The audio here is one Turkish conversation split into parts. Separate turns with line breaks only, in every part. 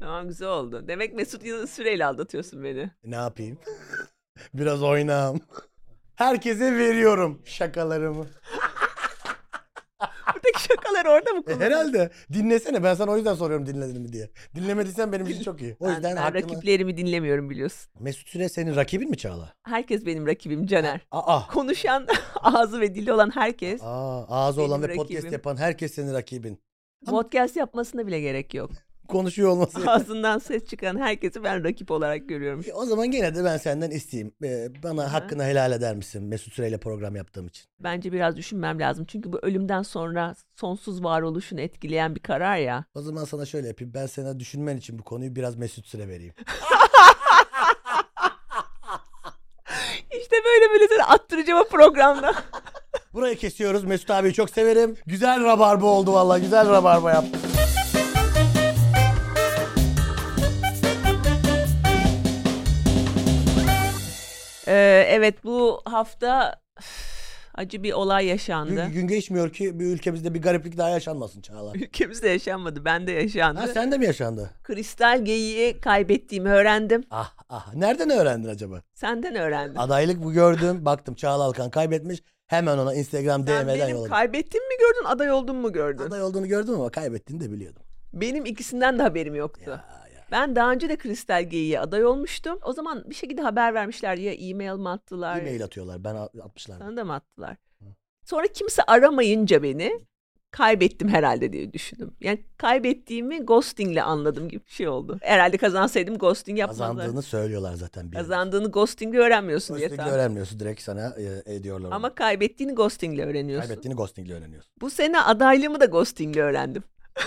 Tamam güzel oldu. Demek Mesut Yıldız Süreyle aldatıyorsun beni.
E, Ne yapayım? Biraz oynağım. Herkese veriyorum şakalarımı.
Buradaki şakalar orada mı
E,
kullanılıyor?
herhalde. Dinlesene ben sana o yüzden soruyorum dinledin mi diye. Dinlemediysen benim için çok iyi. O
Ben,
yüzden
ben
hakkını-
rakiplerimi dinlemiyorum biliyorsun.
Mesut Süre senin rakibin mi Çağla?
Herkes benim rakibim Caner.
Aa.
Konuşan, ağzı ve dili olan herkes.
Aa, ağzı olan
Benim
ve podcast
rakibim.
yapan herkes senin rakibin.
Podcast yapmasına bile gerek yok.
Konuşuyor olması.
Ağzından ses çıkan herkesi ben rakip olarak görüyorum.
E, o zaman gene de ben senden isteyeyim. E, bana
Hı hı.
hakkını helal eder misin Mesut Süreyle program yaptığım için?
Bence biraz düşünmem lazım. Çünkü bu ölümden sonra sonsuz varoluşunu etkileyen bir karar ya.
O zaman sana şöyle yapayım. Ben sana düşünmen için bu konuyu biraz Mesut Süre vereyim.
İşte böyle böyle seni attıracağım o programda.
Burayı kesiyoruz. Mesut abiyi çok severim. Güzel rabarba oldu vallahi. Güzel rabarba yaptı.
Ee, evet bu hafta üf, acı bir olay yaşandı.
Gün, gün geçmiyor ki bir ülkemizde bir gariplik daha yaşanmasın Çağla.
Ülkemizde yaşanmadı. Bende
Ha
yaşandı.
sende mi yaşandı?
Kristal geyiği kaybettiğimi öğrendim.
Ah ah. Nereden öğrendin acaba?
Senden öğrendim.
Adaylık bu gördüm. Baktım Çağla Alkan kaybetmiş. Hemen ona
Sen
Instagram DM'den
benim
yolladım.
kaybettiğimi mi gördün, aday olduğumu mu gördün?
Aday olduğunu gördüm ama kaybettiğini de biliyordum.
Benim ikisinden de haberim yoktu.
Ya, ya.
Ben daha önce de Kristal Geyiği'ye aday olmuştum. O zaman bir şekilde haber vermişler ya e-mail mi attılar?
E-mail atıyorlar. Ben at- atmışlar.
Sana da mı attılar? Sonra kimse aramayınca beni kaybettim herhalde diye düşündüm. Yani kaybettiğimi ghostingle anladım gibi bir şey oldu. Herhalde kazansaydım ghosting yapmazlar.
Kazandığını söylüyorlar zaten. Bir
Kazandığını ghostingle öğrenmiyorsun diye
Ghosting'le
tahmin-
öğrenmiyorsun. Direkt sana e, ediyorlar.
Ama kaybettiğini ghostingle öğreniyorsun.
Kaybettiğini ghosting'le öğreniyorsun.
Bu sene adaylığımı da ghostingle öğrendim.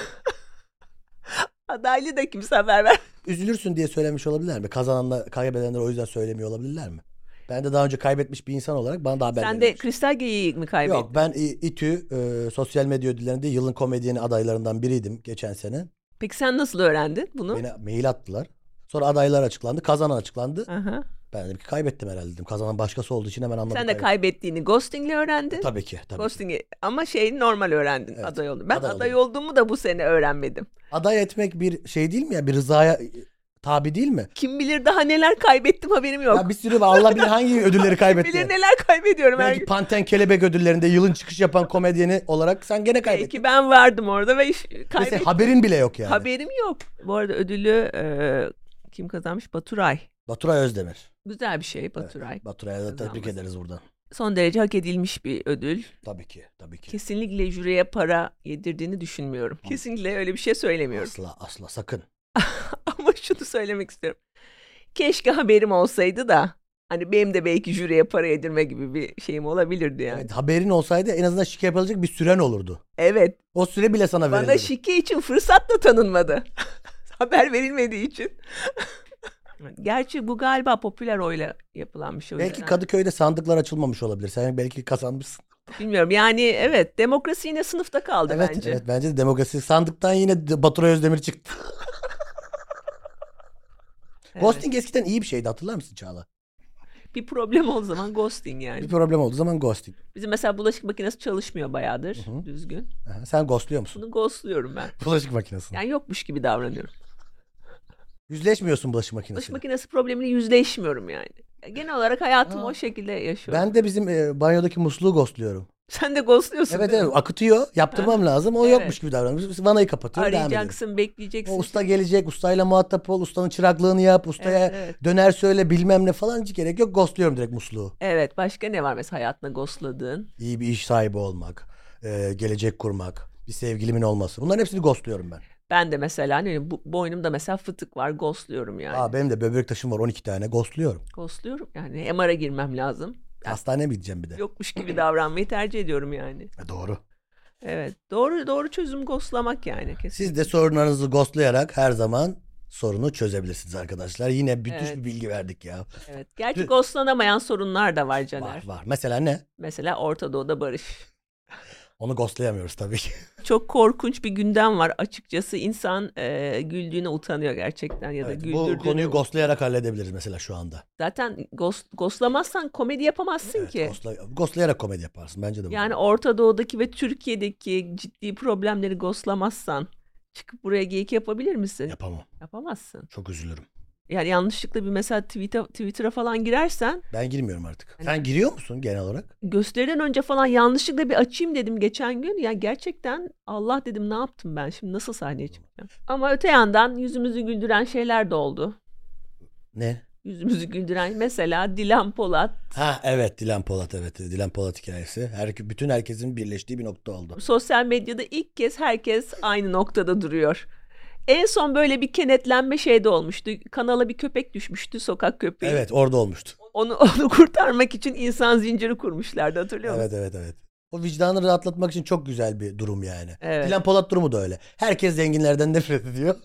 Adaylı da kimse haber ver.
Üzülürsün diye söylemiş olabilirler mi? Kazananlar, kaybedenler o yüzden söylemiyor olabilirler mi? Ben de daha önce kaybetmiş bir insan olarak bana da haber
Sen de
verilmiş.
kristal geyiği mi kaybettin?
Yok ben İ- İTÜ e, sosyal medya ödüllerinde yılın komedyeni adaylarından biriydim geçen sene.
Peki sen nasıl öğrendin bunu?
Beni mail attılar. Sonra adaylar açıklandı. Kazanan açıklandı.
Aha.
Ben dedim ki kaybettim herhalde dedim. Kazanan başkası olduğu için hemen anladım.
Sen de
kaybettim.
kaybettiğini ghostingle öğrendin.
Tabii ki. Tabii. ki.
Ghosting'i ama şeyi normal öğrendin
Evet,
aday oldun. Ben
aday
aday, olduğumu da bu sene öğrenmedim.
Aday etmek bir şey değil mi ya? Bir rızaya e, tabi değil mi?
Kim bilir daha neler kaybettim haberim yok.
Ya bir sürü var. Allah bilir hangi ödülleri
bilir
kaybetti.
neler kaybediyorum her
Belki
gün.
Panten Kelebek ödüllerinde yılın çıkış yapan komedyeni olarak sen gene kaybettin.
Belki ben vardım orada ve iş- kaybettim.
Mesela haberin bile yok yani.
Haberim yok. Bu arada ödülü e, kim kazanmış? Baturay.
Baturay Özdemir.
Güzel bir şey Baturay.
Baturay'a da tebrik
Kazanması.
ederiz buradan.
Son derece hak edilmiş bir ödül.
Tabii ki. Tabii ki.
Kesinlikle jüriye para yedirdiğini düşünmüyorum. Kesinlikle öyle bir şey söylemiyorum.
Asla asla sakın.
Ama şunu söylemek istiyorum. Keşke haberim olsaydı da hani benim de belki jüriye para yedirme gibi bir şeyim olabilirdi yani.
Evet, haberin olsaydı en azından şike yapılacak bir süren olurdu.
Evet.
O süre bile sana
bana
verilirdi.
şike için fırsat da tanınmadı. Haber verilmediği için. Gerçi bu galiba popüler oyla yapılan bir şey. o
belki
yüzden.
Kadıköy'de sandıklar açılmamış olabilir. Sen belki kazanmışsın.
Bilmiyorum yani evet demokrasi yine sınıfta kaldı
evet,
bence.
evet bence de demokrasi sandıktan yine de Baturay Özdemir çıktı.
Evet.
Ghosting eskiden iyi bir şeydi hatırlar mısın Çağla?
Bir problem olduğu zaman ghosting yani.
Bir problem olduğu zaman ghosting.
Bizim mesela bulaşık makinesi çalışmıyor bayağıdır düzgün.
Aha, sen ghostluyor musun?
Bunu ghostluyorum ben.
Bulaşık makinesini.
Yani yokmuş gibi davranıyorum.
Yüzleşmiyorsun bulaşık
Bulaşık
makinesiyle.
makinesi problemiyle yüzleşmiyorum yani. Genel olarak hayatımı o şekilde yaşıyorum.
Ben de bizim e, banyodaki musluğu ghostluyorum.
Sen de ghostluyorsun.
Evet
değil mi?
evet akıtıyor. Yaptırmam lazım. O
evet.
yokmuş gibi davranmış. Vanayı kapatıyor. Devam ediyor.
Arayacaksın, bekleyeceksin.
O usta gelecek. Ustayla muhatap ol. Ustanın çıraklığını yap. Ustaya
Evet, evet.
döner söyle bilmem ne falan hiç gerek yok. Ghostluyorum direkt musluğu.
Evet, başka ne var mesela hayatında ghostladığın?
İyi bir iş sahibi olmak. e, gelecek kurmak. Bir sevgilimin olması. Bunların hepsini ghostluyorum ben.
Ben de mesela hani bu boynumda mesela fıtık var, ghostluyorum yani.
Aa, benim de böbrek taşım var 12 tane. Ghostluyorum.
Ghostluyorum yani MR'a girmem lazım.
Hastaneye mi gideceğim bir de?
Yokmuş gibi davranmayı tercih ediyorum yani.
E, doğru.
Evet, doğru doğru çözüm ghostlamak yani kesin.
Siz de sorunlarınızı ghostlayarak her zaman sorunu çözebilirsiniz arkadaşlar. Yine müthiş
Evet.
bir bilgi verdik ya.
Evet. Gerçi ghostlanamayan sorunlar da var Caner.
Var var. Mesela ne?
Mesela Orta Doğu'da barış.
Onu ghostlayamıyoruz tabii ki.
Çok korkunç bir gündem var açıkçası. İnsan e, güldüğüne utanıyor gerçekten ya da
Evet, bu
güldürdüğüne.
konuyu ghostlayarak halledebiliriz mesela şu anda.
Zaten ghost, ghostlamazsan komedi yapamazsın
Evet,
ki.
ghostla- ghostlayarak komedi yaparsın bence de. bu.
Yani Orta Doğu'daki ve Türkiye'deki ciddi problemleri ghostlamazsan çıkıp buraya geyik yapabilir misin?
Yapamam.
Yapamazsın.
Çok üzülürüm.
Yani yanlışlıkla bir mesela Twitter, Twitter'a falan girersen
Ben girmiyorum artık.
Hani-
Sen giriyor musun genel olarak?
gösteriden önce falan yanlışlıkla bir açayım dedim geçen gün. Ya gerçekten Allah dedim ne yaptım ben şimdi nasıl sahneye çıkacağım. Ama öte yandan yüzümüzü güldüren şeyler de oldu.
Ne?
Yüzümüzü güldüren mesela Dilan Polat
Ha evet Dilan Polat evet. Dilan Polat hikayesi. Her, bütün herkesin birleştiği bir nokta oldu.
sosyal medyada ilk kez herkes aynı noktada duruyor. En son böyle bir kenetlenme şeyde olmuştu. Kanala bir köpek düşmüştü sokak köpeği.
Evet orada olmuştu.
Onu onu kurtarmak için insan zinciri kurmuşlardı hatırlıyor musun?
Evet evet evet. O vicdanı rahatlatmak için çok güzel bir durum yani.
Evet.
Dilan Polat durumu da öyle. Herkes zenginlerden nefret ediyor.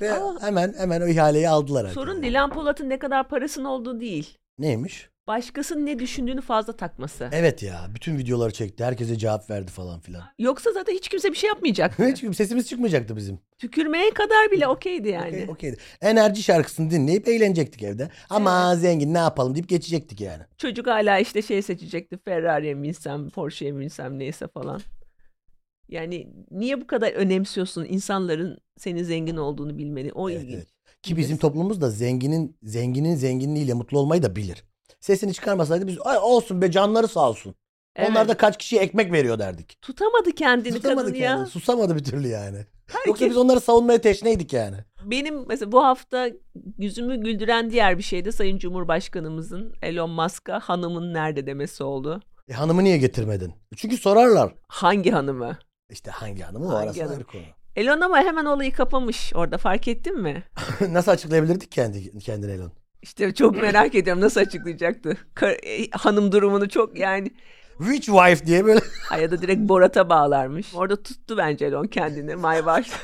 Ve
Ama-
hemen hemen o ihaleyi aldılar. herkes.
Sorun Dilan Polat'ın ne kadar parasının olduğu değil.
Neymiş?
Başkasının ne düşündüğünü fazla takması.
Evet ya bütün videoları çekti. Herkese cevap verdi falan filan.
Yoksa zaten hiç kimse bir şey yapmayacak.
Hiç sesimiz çıkmayacaktı bizim.
Tükürmeye kadar bile okeydi yani.
Okey, okeydi. Enerji şarkısını dinleyip eğlenecektik evde. Ama zengin ne yapalım deyip geçecektik yani.
Çocuk hala işte şey seçecekti. Ferrari'ye mi binsem, Porsche'ye mi binsem neyse falan. Yani niye bu kadar önemsiyorsun insanların senin zengin olduğunu bilmeni? O
Evet,
ilginç.
evet. Ki bizim toplumumuz da zenginin zenginin zenginliğiyle mutlu olmayı da bilir. Sesini çıkarmasaydı biz "Ay olsun be canları sağ olsun.
Evet.
Onlar da kaç kişiye ekmek veriyor derdik.
tutamadı kendini
Tutamadık
kadın ya.
yani. Susamadı bir türlü yani. Yoksa
Herkes-
biz onları savunmaya teşneydik yani.
Benim mesela bu hafta yüzümü güldüren diğer bir şey de Sayın Cumhurbaşkanımızın Elon Musk'a hanımın nerede demesi oldu.
E, hanımı niye getirmedin? Çünkü sorarlar.
Hangi hanımı?
İşte hangi hanımı var
Hangi
arasında
hanım?
ayrı konu.
Elon ama hemen olayı kapamış orada fark ettin mi?
Nasıl açıklayabilirdik kendi kendini Elon?
İşte çok merak ediyorum nasıl açıklayacaktı. Kar- e, hanım durumunu çok yani
Rich wife diye böyle
Ay ya da direkt Borat'a bağlarmış. Orada tuttu bence Elon kendini. My wife.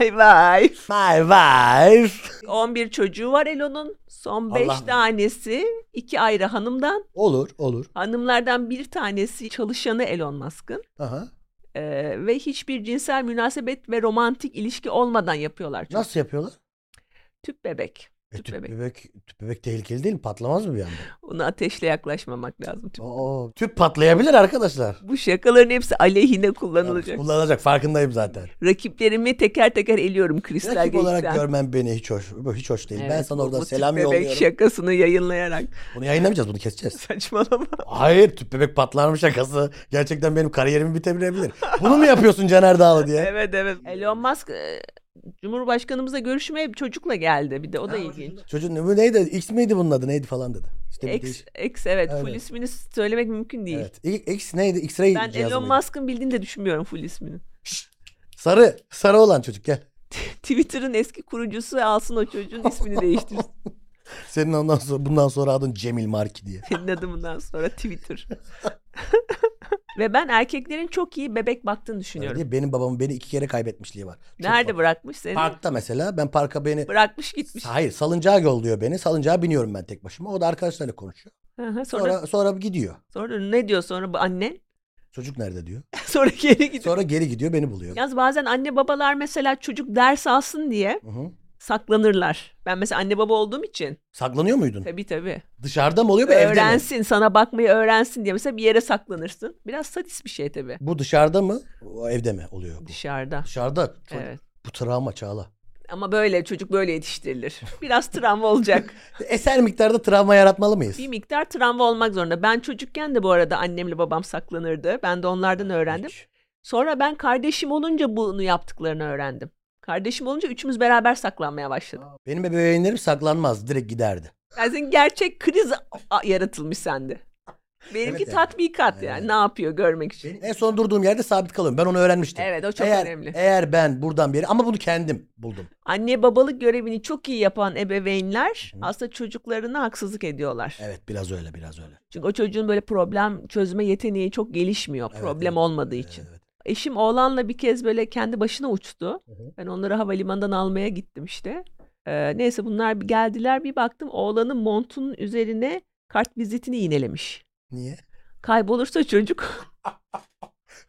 My wife.
my wife.
11 çocuğu var Elon'un. Son 5
Allah.
tanesi iki ayrı hanımdan.
Olur olur.
Hanımlardan bir tanesi çalışanı Elon Musk'ın.
Aha.
Ee, ve hiçbir cinsel münasebet ve romantik ilişki olmadan yapıyorlar. Çünkü.
Nasıl yapıyorlar?
Tüp bebek.
E,
Tüp
tüp
bebek.
bebek. tüp bebek tehlikeli değil mi? Patlamaz mı bir anda?
Ona ateşle yaklaşmamak lazım. Tüp.
Oo, tüp patlayabilir arkadaşlar.
Bu şakaların hepsi aleyhine kullanılacak.
Kullanılacak farkındayım zaten.
Rakiplerimi teker teker eliyorum kristal
Rakip olarak
gençten.
görmen beni hiç hoş hiç hoş değil. ben
Evet,
sana
bu-
oradan
bu tüp
selam
bebek şey-
yolluyorum.
şakasını yayınlayarak.
Bunu yayınlamayacağız, bunu keseceğiz.
Saçmalama.
Hayır, tüp bebek patlar mı şakası? Gerçekten benim kariyerimi bitebilebilir. Bunu mu yapıyorsun Caner Dağlı diye?
evet evet. Elon Musk e, Cumhurbaşkanımıza görüşmeye bir çocukla geldi. Bir de o da ilginç.
Çocuğun bu neydi? X miydi bunun adı? Neydi falan dedi. İşte bir
X,
değiş-
X evet.
Aynen.
Full ismini söylemek mümkün değil.
Evet. İ- X neydi? X-ray
Ben
cihazı
Elon
mıydı?
Musk'ın bildiğini de düşünmüyorum full ismini.
Sarı. Sarı olan çocuk gel.
Twitter'ın eski kurucusu alsın o çocuğun ismini değiştirsin.
Senin ondan sonra bundan sonra adın Cemil Marki diye.
Senin adımından sonra Twitter. Ve ben erkeklerin çok iyi bebek baktığını düşünüyorum.
Diye benim babamın beni iki kere kaybetmişliği var. Çok
Nerede bırakmış seni?
Parkta mesela ben parka beni
Bırakmış gitmiş.
hayır salıncağa yolluyor beni. Salıncağa biniyorum ben tek başıma. O da arkadaşlarla konuşuyor.
Hı hı, sonra, sonra,
Sonra sonra gidiyor.
ne diyor sonra bu annen?
Çocuk nerede diyor.
sonra geri gidiyor.
Sonra geri gidiyor beni buluyor.
Yalnız bazen anne babalar mesela çocuk ders alsın diye
Hı hı.
saklanırlar. Ben mesela anne baba olduğum için.
Saklanıyor muydun?
Tabii tabii.
Dışarıda mı oluyor ve evde mi?
öğrensin, sana bakmayı öğrensin diye mesela bir yere saklanırsın. Biraz sadist bir şey tabii.
Bu dışarıda mı? O evde mi oluyor? Bu?
Dışarıda.
Dışarıda. Çocuk-
Evet.
Bu travma Çağla.
Ama böyle çocuk böyle yetiştirilir. Biraz travma olacak.
Eser miktarda travma yaratmalı mıyız?
bir miktar travma olmak zorunda. Ben çocukken de bu arada annemle babam saklanırdı. Ben de onlardan öğrendim.
Hiç.
Sonra ben kardeşim olunca bunu yaptıklarını öğrendim. Kardeşim olunca üçümüz beraber saklanmaya başladık.
Benim ebeveynlerim saklanmaz. Direkt giderdi.
Yani senin gerçek kriz a- yaratılmış sende. Benimki
Evet, yani.
tatbikat yani.
Aynen.
Ne yapıyor görmek için.
En son durduğum yerde sabit kalıyorum. Ben onu öğrenmiştim.
Evet, o çok
eğer, e-
önemli.
Eğer ben buradan bir yere ama bunu kendim buldum.
Anne babalık görevini çok iyi yapan ebeveynler
Hı.
aslında çocuklarına haksızlık ediyorlar.
Evet biraz öyle biraz öyle.
Çünkü o çocuğun böyle problem çözme yeteneği çok gelişmiyor
Evet,
problem
evet.
olmadığı Şey için.
Evet.
Eşim oğlanla bir kez böyle kendi başına uçtu.
Hı hı.
Ben onları havalimanından almaya gittim işte. Ee, neyse bunlar bir geldiler bir baktım oğlanın montunun üzerine kartvizitini iğnelemiş.
Niye?
Kaybolursa çocuk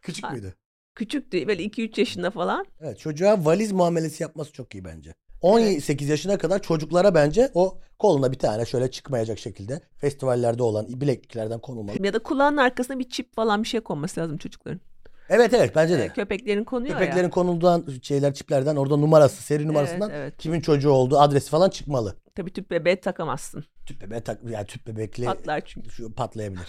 Küçük
Ha.
müydü?
küçüktü böyle 2-3 yaşında falan.
Evet çocuğa valiz muamelesi yapması çok iyi bence. 18 yaşına kadar çocuklara bence o koluna bir tane şöyle çıkmayacak şekilde festivallerde olan bilekliklerden konulmalı.
Ya da kulağın arkasına bir çip falan bir şey konması lazım çocukların.
Evet evet bence de.
Ee, Köpeklerin konuyor
Köpeklerin
ya.
konulduğundan şeyler çiplerden orada numarası seri numarasından
evet.
kimin çocuğu olduğu adresi falan çıkmalı.
Tabii tüp bebeğe takamazsın.
Tüp bebeğe tak yani tüp bebekli
Patlar çünkü.
şu patlayabilir.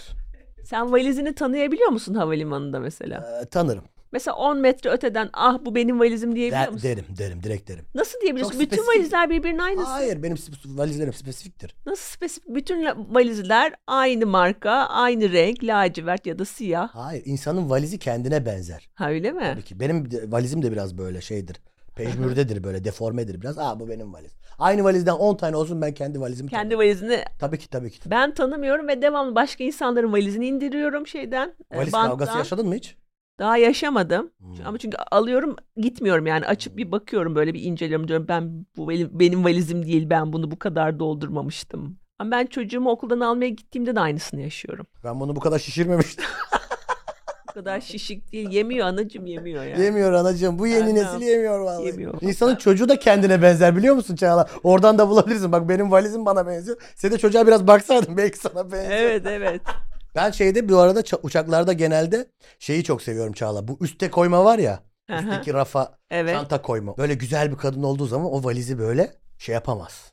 Sen valizini tanıyabiliyor musun havalimanında mesela?
Ee, tanırım.
Mesela 10 metre öteden ah bu benim valizim diyebiliyor
Der-
musun?
derim derim direkt derim.
Nasıl diyebilirsin?
Çok
Bütün
spesifik.
valizler birbirinin aynısı.
Hayır benim sp- valizlerim spesifiktir.
Nasıl spesifik? Bütün la- valizler aynı marka, aynı renk, lacivert ya da siyah.
Hayır insanın valizi kendine benzer.
Ha öyle mi?
Tabii ki benim de- valizim de biraz böyle şeydir. Pejmürdedir böyle deformedir biraz. Aa bu benim valiz. Aynı valizden 10 tane olsun ben kendi valizimi
Kendi
tanırım.
valizini
Tabii ki tabii ki.
ben tanımıyorum ve devamlı başka insanların valizini indiriyorum şeyden. e,
Valiz
banttan.
kavgası yaşadın mı hiç?
Daha yaşamadım.
Hmm.
Çünkü- Ama çünkü alıyorum gitmiyorum yani açıp bir bakıyorum böyle bir inceliyorum diyorum ben bu benim, benim valizim değil ben bunu bu kadar doldurmamıştım. Ama ben çocuğumu okuldan almaya gittiğimde de aynısını yaşıyorum.
Ben bunu bu kadar şişirmemiştim.
Bu kadar şişik değil yemiyor anacım yemiyor yani.
yemiyor anacığım. Bu yeni
Anam.
nesil yemiyor vallahi.
Yemiyor.
İnsanın çocuğu da kendine benzer biliyor musun Çağla? Oradan da bulabilirsin. Bak benim valizim bana benziyor. Sen de çocuğa biraz baksaydın belki sana benziyor.
evet evet.
Ben şeyde bu arada ça- uçaklarda genelde şeyi çok seviyorum Çağla. Bu üste koyma var ya.
Aha,
Üstteki rafa
evet.
çanta koyma. Böyle güzel bir kadın olduğu zaman o valizi böyle şey yapamaz.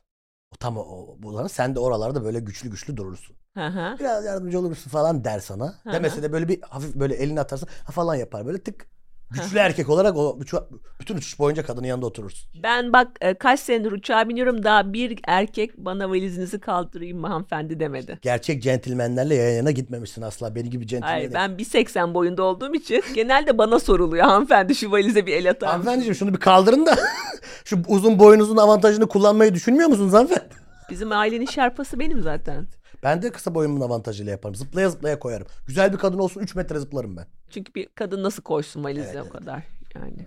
O tam o, o bulanı. Sen de oralarda böyle güçlü güçlü durursun.
Aha.
Biraz yardımcı olur musun falan der sana.
Hı
Demese
hı.
de böyle bir hafif böyle elini atarsın ha falan yapar böyle tık. Güçlü erkek olarak o uça- bütün uçuş boyunca kadının yanında oturursun.
Ben bak e, kaç senedir uçağa biniyorum daha bir erkek bana valizinizi kaldırayım mı hanımefendi demedi.
Gerçek centilmenlerle yan yana gitmemişsin asla. Benim gibi centilmen.
Hayır
değil.
ben 1.80 boyunda olduğum için genelde bana soruluyor hanımefendi şu valize bir el atar mısın?
Hanımefendiciğim şunu bir kaldırın da şu uzun boyunuzun avantajını kullanmayı düşünmüyor musunuz hanımefendi?
Bizim ailenin şarpası benim zaten.
Ben de kısa boyumun avantajıyla yaparım. Zıplaya zıplaya koyarım. Güzel bir kadın olsun 3 metre zıplarım ben.
Çünkü bir kadın nasıl koysun valizle
Evet,
o
evet.
kadar yani.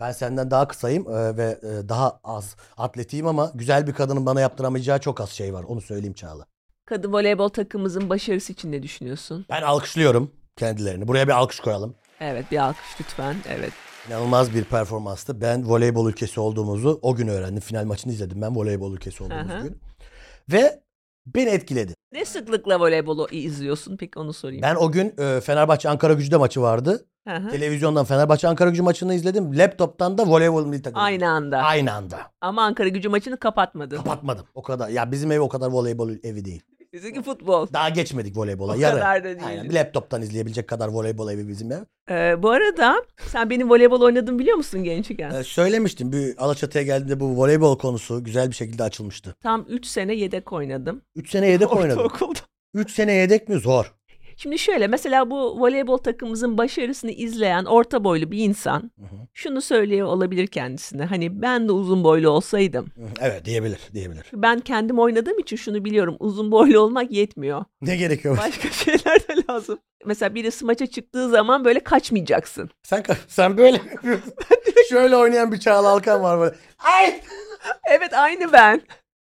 Ben senden daha kısayım e, ve e, daha az atletiyim ama güzel bir kadının bana yaptıramayacağı çok az şey var. Onu söyleyeyim Çağla.
Kadın voleybol takımımızın başarısı için ne düşünüyorsun?
Ben alkışlıyorum kendilerini. Buraya bir alkış koyalım.
Evet bir alkış lütfen. Evet.
İnanılmaz bir performanstı. Ben voleybol ülkesi olduğumuzu o gün öğrendim. Final maçını izledim ben voleybol ülkesi olduğumuz
Aha.
gün. Ve beni etkiledi.
Ne sıklıkla voleybolu izliyorsun? Peki onu sorayım.
Ben o gün e, Fenerbahçe Ankara Gücü'de maçı vardı.
Hı hı.
Televizyondan Fenerbahçe Ankara Gücü maçını izledim. Laptop'tan da voleybol milli takımı.
Aynı anda.
Aynı anda.
Ama Ankara gücü maçını kapatmadı.
Kapatmadım. O kadar. Ya bizim ev o kadar voleybol evi değil.
Bizimki futbol.
Daha geçmedik voleybola.
O
yarı.
kadar da değil.
Aynen. Bir laptop'tan izleyebilecek kadar voleybol evi bizim ev.
Ee, bu arada sen benim voleybol oynadım biliyor musun gençken?
Ee, söylemiştim. Bir Alaçatı'ya geldiğimde bu voleybol konusu güzel bir şekilde açılmıştı.
Tam 3 sene yedek oynadım.
3 sene yedek oynadım.
Ortaokulda.
3 sene yedek mi? Zor.
Şimdi şöyle mesela bu voleybol takımımızın başarısını izleyen orta boylu bir insan
Hı hı.
şunu söylüyor olabilir kendisine. Hani ben de uzun boylu olsaydım.
Hı hı. Evet diyebilir. Diyebilir.
Ben kendim oynadığım için şunu biliyorum. Uzun boylu olmak yetmiyor.
Ne gerekiyor?
Başka şeyler de lazım. Mesela birisi maça çıktığı zaman böyle kaçmayacaksın.
Sen, ka- sen böyle mi yapıyorsun? Şöyle oynayan bir Çağla Alkan var böyle. Ay!
Evet aynı ben.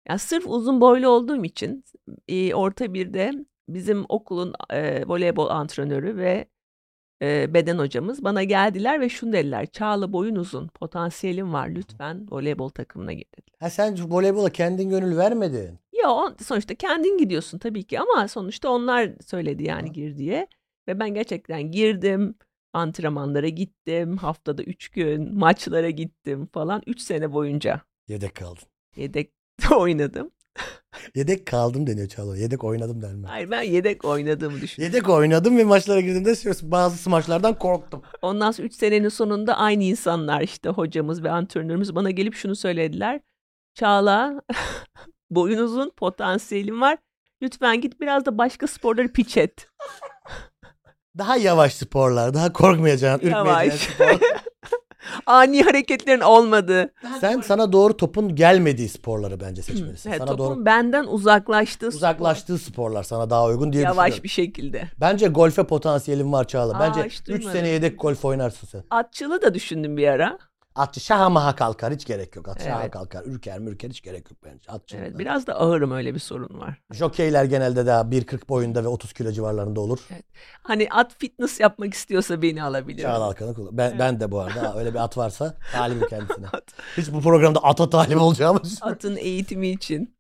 Ya sırf uzun boylu olduğum için e, orta birde bizim okulun e, voleybol antrenörü ve e, beden hocamız bana geldiler ve şunu dediler. Çağla boyun uzun, potansiyelin var lütfen voleybol takımına gir dediler.
Ha sen şu voleybola kendin gönül vermedin.
Ya o- sonuçta kendin gidiyorsun tabii ki ama sonuçta onlar söyledi yani
Hı.
gir diye. Ve ben gerçekten girdim. Antrenmanlara gittim. Haftada 3 gün maçlara gittim falan. 3 sene boyunca
Yedek kaldın.
yedek oynadım.
Yedek kaldım deniyor Çağla. Yedek oynadım denmez.
Hayır ben yedek oynadığımı düşün.
Yedek oynadım ve maçlara girdiğimde sırf- bazı maçlardan korktum.
Ondan sonra 3 senenin sonunda aynı insanlar işte hocamız ve antrenörümüz bana gelip şunu söylediler. Çağla boyun uzun potansiyelin var. Lütfen git biraz da başka sporları piç et.
Daha yavaş sporlar, daha korkmayacağın, ürkmeyeceğin
Yavaş.
sporlar.
Ani hareketlerin olmadığı.
Sen sana doğru topun gelmediği sporları bence seçmelisin.
Evet,
sana
topun
doğru
benden uzaklaştığı spor-
uzaklaştığı sporlar sana daha uygun diye
yavaş
düşünüyorum.
bir şekilde.
Bence golfe potansiyelin var Çağla.
Aa,
Bence
hiç
3
duymadım.
sene yedek golf oynarsın sen.
Atçılığı da düşündüm bir ara.
Atçı şaha maha kalkar hiç gerek yok. Atçı şaha
Evet.
kalkar, ürker mürker hiç gerek yok bence. Atçı.
Evet, biraz da ağırım öyle bir sorun var.
Jokeyler genelde daha 1.40 boyunda ve 30 kilo civarlarında olur.
Hani at fitness yapmak istiyorsa beni alabilir.
Çağla Alkan'ı kullan. Ben, ben de bu arada ha, öyle bir at varsa talibim kendisine. Hiç bu programda ata talip olacağımı düşünmüyorum.
Atın eğitimi için.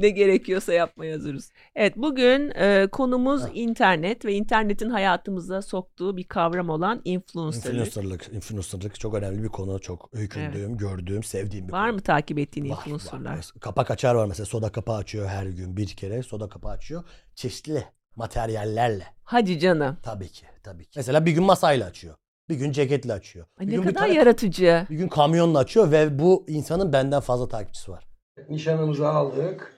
ne gerekiyorsa yapmaya hazırız. Evet bugün e, konumuz
Ha.
internet ve internetin hayatımıza soktuğu bir kavram olan influencerlık.
Influencerlık, influencerlık çok önemli bir konu. Çok öykündüğüm, gördüğüm, sevdiğim bir
Var
konu.
mı takip ettiğin
Var,
influencerlar?
var. Kapak açar var mesela. Soda kapağı açıyor her gün bir kere. Soda kapağı açıyor. Çeşitli materyallerle.
Hadi canım.
Tabii ki, tabii ki. Mesela bir gün masayla açıyor. Bir gün ceketle açıyor.
Ay,
bir
ne
gün bir
kadar
tane-
yaratıcı.
bir gün kamyonla açıyor ve bu insanın benden fazla takipçisi var.
Nişanımızı aldık.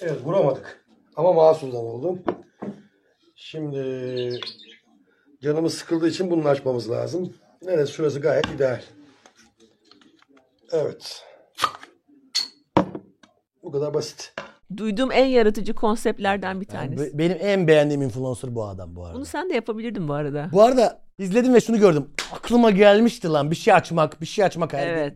Evet vuramadık. Ama masumdan oldum. Şimdi canımız sıkıldığı için bunu açmamız lazım. Neresi şurası gayet ideal. Evet. Bu kadar basit.
Duyduğum en yaratıcı konseptlerden bir
Yani
tanesi.
be- benim en beğendiğim influencer bu adam bu arada.
Bunu sen de yapabilirdin bu arada.
Bu arada izledim ve şunu gördüm. Aklıma gelmişti lan bir şey açmak, bir şey açmak her gün.
Evet.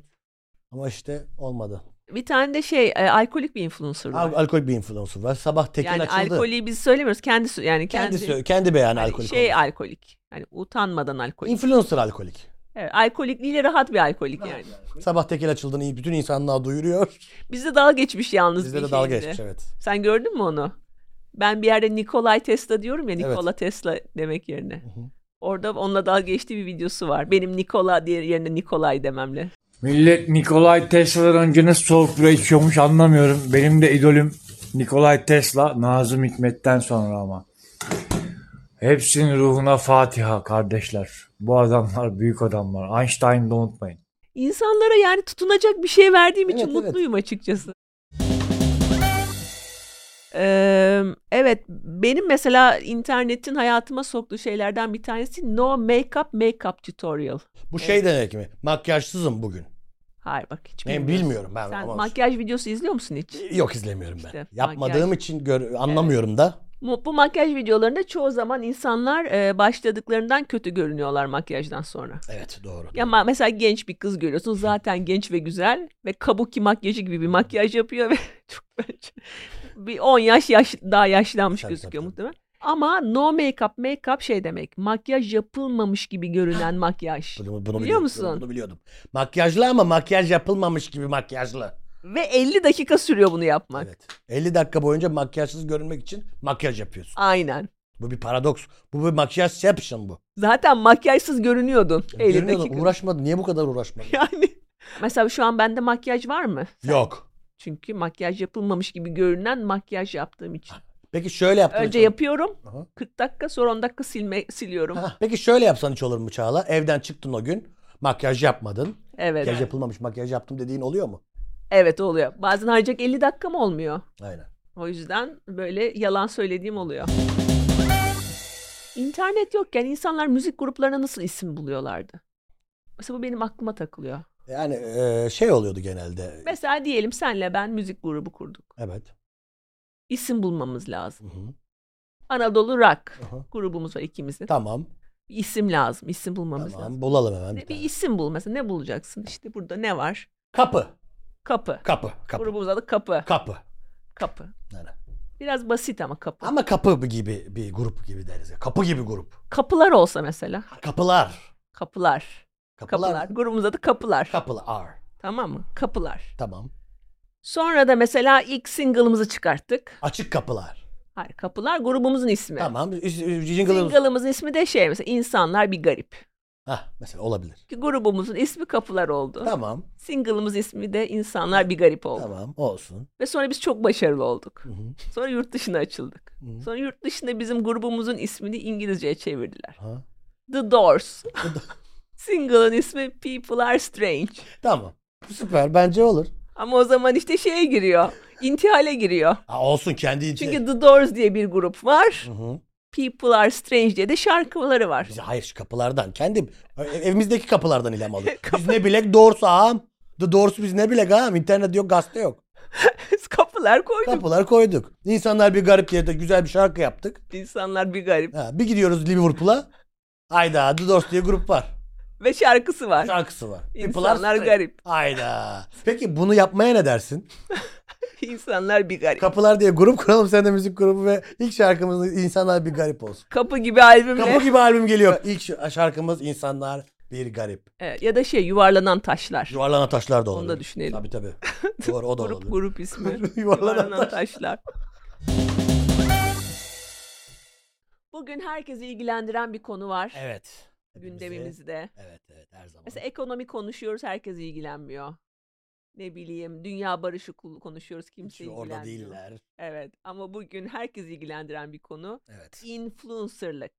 Ama işte olmadı.
Bir tane de şey e, alkolik bir influencer var.
Al- alkol bir influencer var. Sabah tekin
yani
açıldı.
alkoliği biz söylemiyoruz. Kendisi yani
kendi
kendi,
sö- kendi beyanı
hani
alkolik.
şey
oldu.
alkolik. Yani utanmadan alkolik.
Influencer alkolik.
Evet, alkolikliğiyle rahat bir alkolik yani.
Sabah tekel açıldığını iyi- bütün insanlığa duyuruyor.
Bizde dalga geçmiş yalnız
Bizde
bir
de dalga
şeyinde.
geçmiş evet.
Sen gördün mü onu? Ben bir yerde Nikolay Tesla diyorum ya
Evet.
Nikola Tesla demek yerine.
hı.
Orada onunla dalga geçtiği bir videosu var. Benim Nikola diye yerine Nikolay dememle.
Millet Nikolay Tesla'dan önce nasıl soğuk bira içiyormuş anlamıyorum. Benim de idolüm Nikolay Tesla, Nazım Hikmet'ten sonra ama. Hepsinin ruhuna Fatiha kardeşler. Bu adamlar büyük adamlar. Einstein'ı da unutmayın.
İnsanlara yani tutunacak bir şey verdiğim için
Evet, evet.
mutluyum açıkçası. Ee, evet benim mesela internetin hayatıma soktuğu şeylerden bir tanesi no makeup makeup tutorial.
Bu şey demek mi? Makyajsızım bugün.
Hayır bak hiç
Ben
bilmiyorum.
bilmiyorum ben.
Sen
ama-
makyaj videosu izliyor musun hiç?
Yok izlemiyorum ben.
İşte,
Yapmadığım
makyaj.
için gör- anlamıyorum da.
Bu, bu makyaj videolarında çoğu zaman insanlar e, başladıklarından kötü görünüyorlar makyajdan sonra.
Evet doğru.
Ya ma- mesela genç bir kız görüyorsun zaten genç ve güzel ve kabuki makyajı gibi bir makyaj yapıyor ve çok bence bir 10 yaş, yaş daha yaşlanmış
Tabii, tabii,
gözüküyor
tabii.
muhtemelen. Ama no makeup makeup şey demek. Makyaj yapılmamış gibi görünen makyaj.
Bunu, bunu
Biliyor
biliyordum,
musun?
Bunu biliyordum. Makyajlı ama makyaj yapılmamış gibi makyajlı.
Ve 50 dakika sürüyor bunu yapmak.
Evet. 50 dakika boyunca makyajsız görünmek için makyaj yapıyorsun.
Aynen.
Bu bir paradoks. Bu bir makyajception bu.
Zaten makyajsız görünüyordun 50
Görünüyor da
dakika.
uğraşmadın. Niye bu kadar uğraşmadın?
yani mesela şu an bende makyaj var mı?
Yok.
Çünkü makyaj yapılmamış gibi görünen makyaj yaptığım için.
Peki şöyle yapsan
Önce
hiç olur-
yapıyorum.
Ah, Aha.
40 dakika sonra 10 dakika silme siliyorum.
Ha, Peki şöyle yapsan hiç olur mu Çağla? Evden çıktın o gün. Makyaj yapmadın.
Evet.
Makyaj yapılmamış makyaj yaptım dediğin oluyor mu?
Evet oluyor. Bazen harcayacak 50 dakikam olmuyor.
Aynen.
O yüzden böyle yalan söylediğim oluyor. İnternet yokken insanlar müzik gruplarına nasıl isim buluyorlardı? Mesela bu benim aklıma takılıyor.
Yani e, şey oluyordu genelde.
Mesela diyelim senle ben müzik grubu kurduk.
Evet.
İsim bulmamız lazım.
Hı hı.
Anadolu Rock
Aha.
grubumuz var ikimizin.
Tamam.
Bir isim lazım. İsim bulmamız lazım.
Tamam. Bulalım hemen.
Ne-
Bir
bir
tane.
isim bul mesela. Ne bulacaksın? İşte burada ne var?
Kapı.
Kapı.
Kapı. Kapı.
Grubumuz adı Kapı.
Kapı.
Kapı.
Aynen.
Biraz basit ama kapı.
Ama kapı gibi bir grup gibi deriz. ya. Kapı gibi grup.
Kapılar olsa mesela.
Kapılar.
Kapılar. Kapılar.
Kapılar.
Grubumuzun adı Kapılar.
Kapılar.
tamam mı? Kapılar.
Tamam.
Sonra da mesela ilk single'ımızı çıkarttık.
Açık kapılar.
Hayır, Kapılar grubumuzun ismi.
Tamam. Üz- üz- Jingle'ımız.
Single'ımızın ismi de şey mesela İnsanlar bir garip.
Hah, mesela olabilir.
Ki grubumuzun ismi Kapılar oldu.
Tamam.
Single'ımızın ismi de İnsanlar bir garip oldu.
Tamam. Olsun.
Ve sonra biz çok başarılı olduk.
Hı hı.
Sonra yurt dışına açıldık.
Hı.
Sonra yurt dışında bizim grubumuzun ismini İngilizceye çevirdiler.
Ha.
The Doors. Single'ın ismi People Are Strange.
Tamam. Süper. Bence olur.
Ama o zaman işte şeye giriyor. İntihale giriyor.
Ha, olsun kendi inti-
Çünkü The Doors diye bir grup var.
Şey- Hı hı.
People Are Strange diye de şarkıları var.
Biz hayır şu kapılardan. Kendi ev- evimizdeki kapılardan ilham aldık. Biz ne bilek doğrusu ağam. The doğrusu biz ne bilek ağam. İnternet yok gazete yok.
Kapılar koyduk.
Kapılar koyduk. İnsanlar bir garip diye de güzel bir şarkı yaptık.
İnsanlar bir garip.
Ha, bir gidiyoruz Liverpool'a. Hayda The Doors diye grup var.
Ve şarkısı var.
Şarkısı var. People are
İnsanlar
straight.
garip.
Hayda. Peki bunu yapmaya ne dersin?
İnsanlar bir garip.
Kapılar diye grup kuralım sen de müzik grubu ve ilk şarkımız insanlar bir garip olsun.
Kapı gibi albümle.
Kapı gibi albüm geliyor. İlk şarkımız insanlar Bir garip.
Evet, ya da şey yuvarlanan taşlar.
Yuvarlanan taşlar da
Onu da
olabilir.
düşünelim.
Tabii tabii. Doğru o da
grup
olabilir.
grup ismi.
Yuvarlanan
Yuvarlanan
taş.
taşlar. Bugün herkesi ilgilendiren bir konu var
Evet. Hepimizi-
gündemimizde.
Evet evet her zaman.
Mesela ekonomi konuşuyoruz herkes ilgilenmiyor. Ne bileyim dünya barışı kul- konuşuyoruz kimse
Şu
ilgilenmiyor.
orada değiller.
Evet ama bugün herkes ilgilendiren bir konu
Evet.
influencerlık.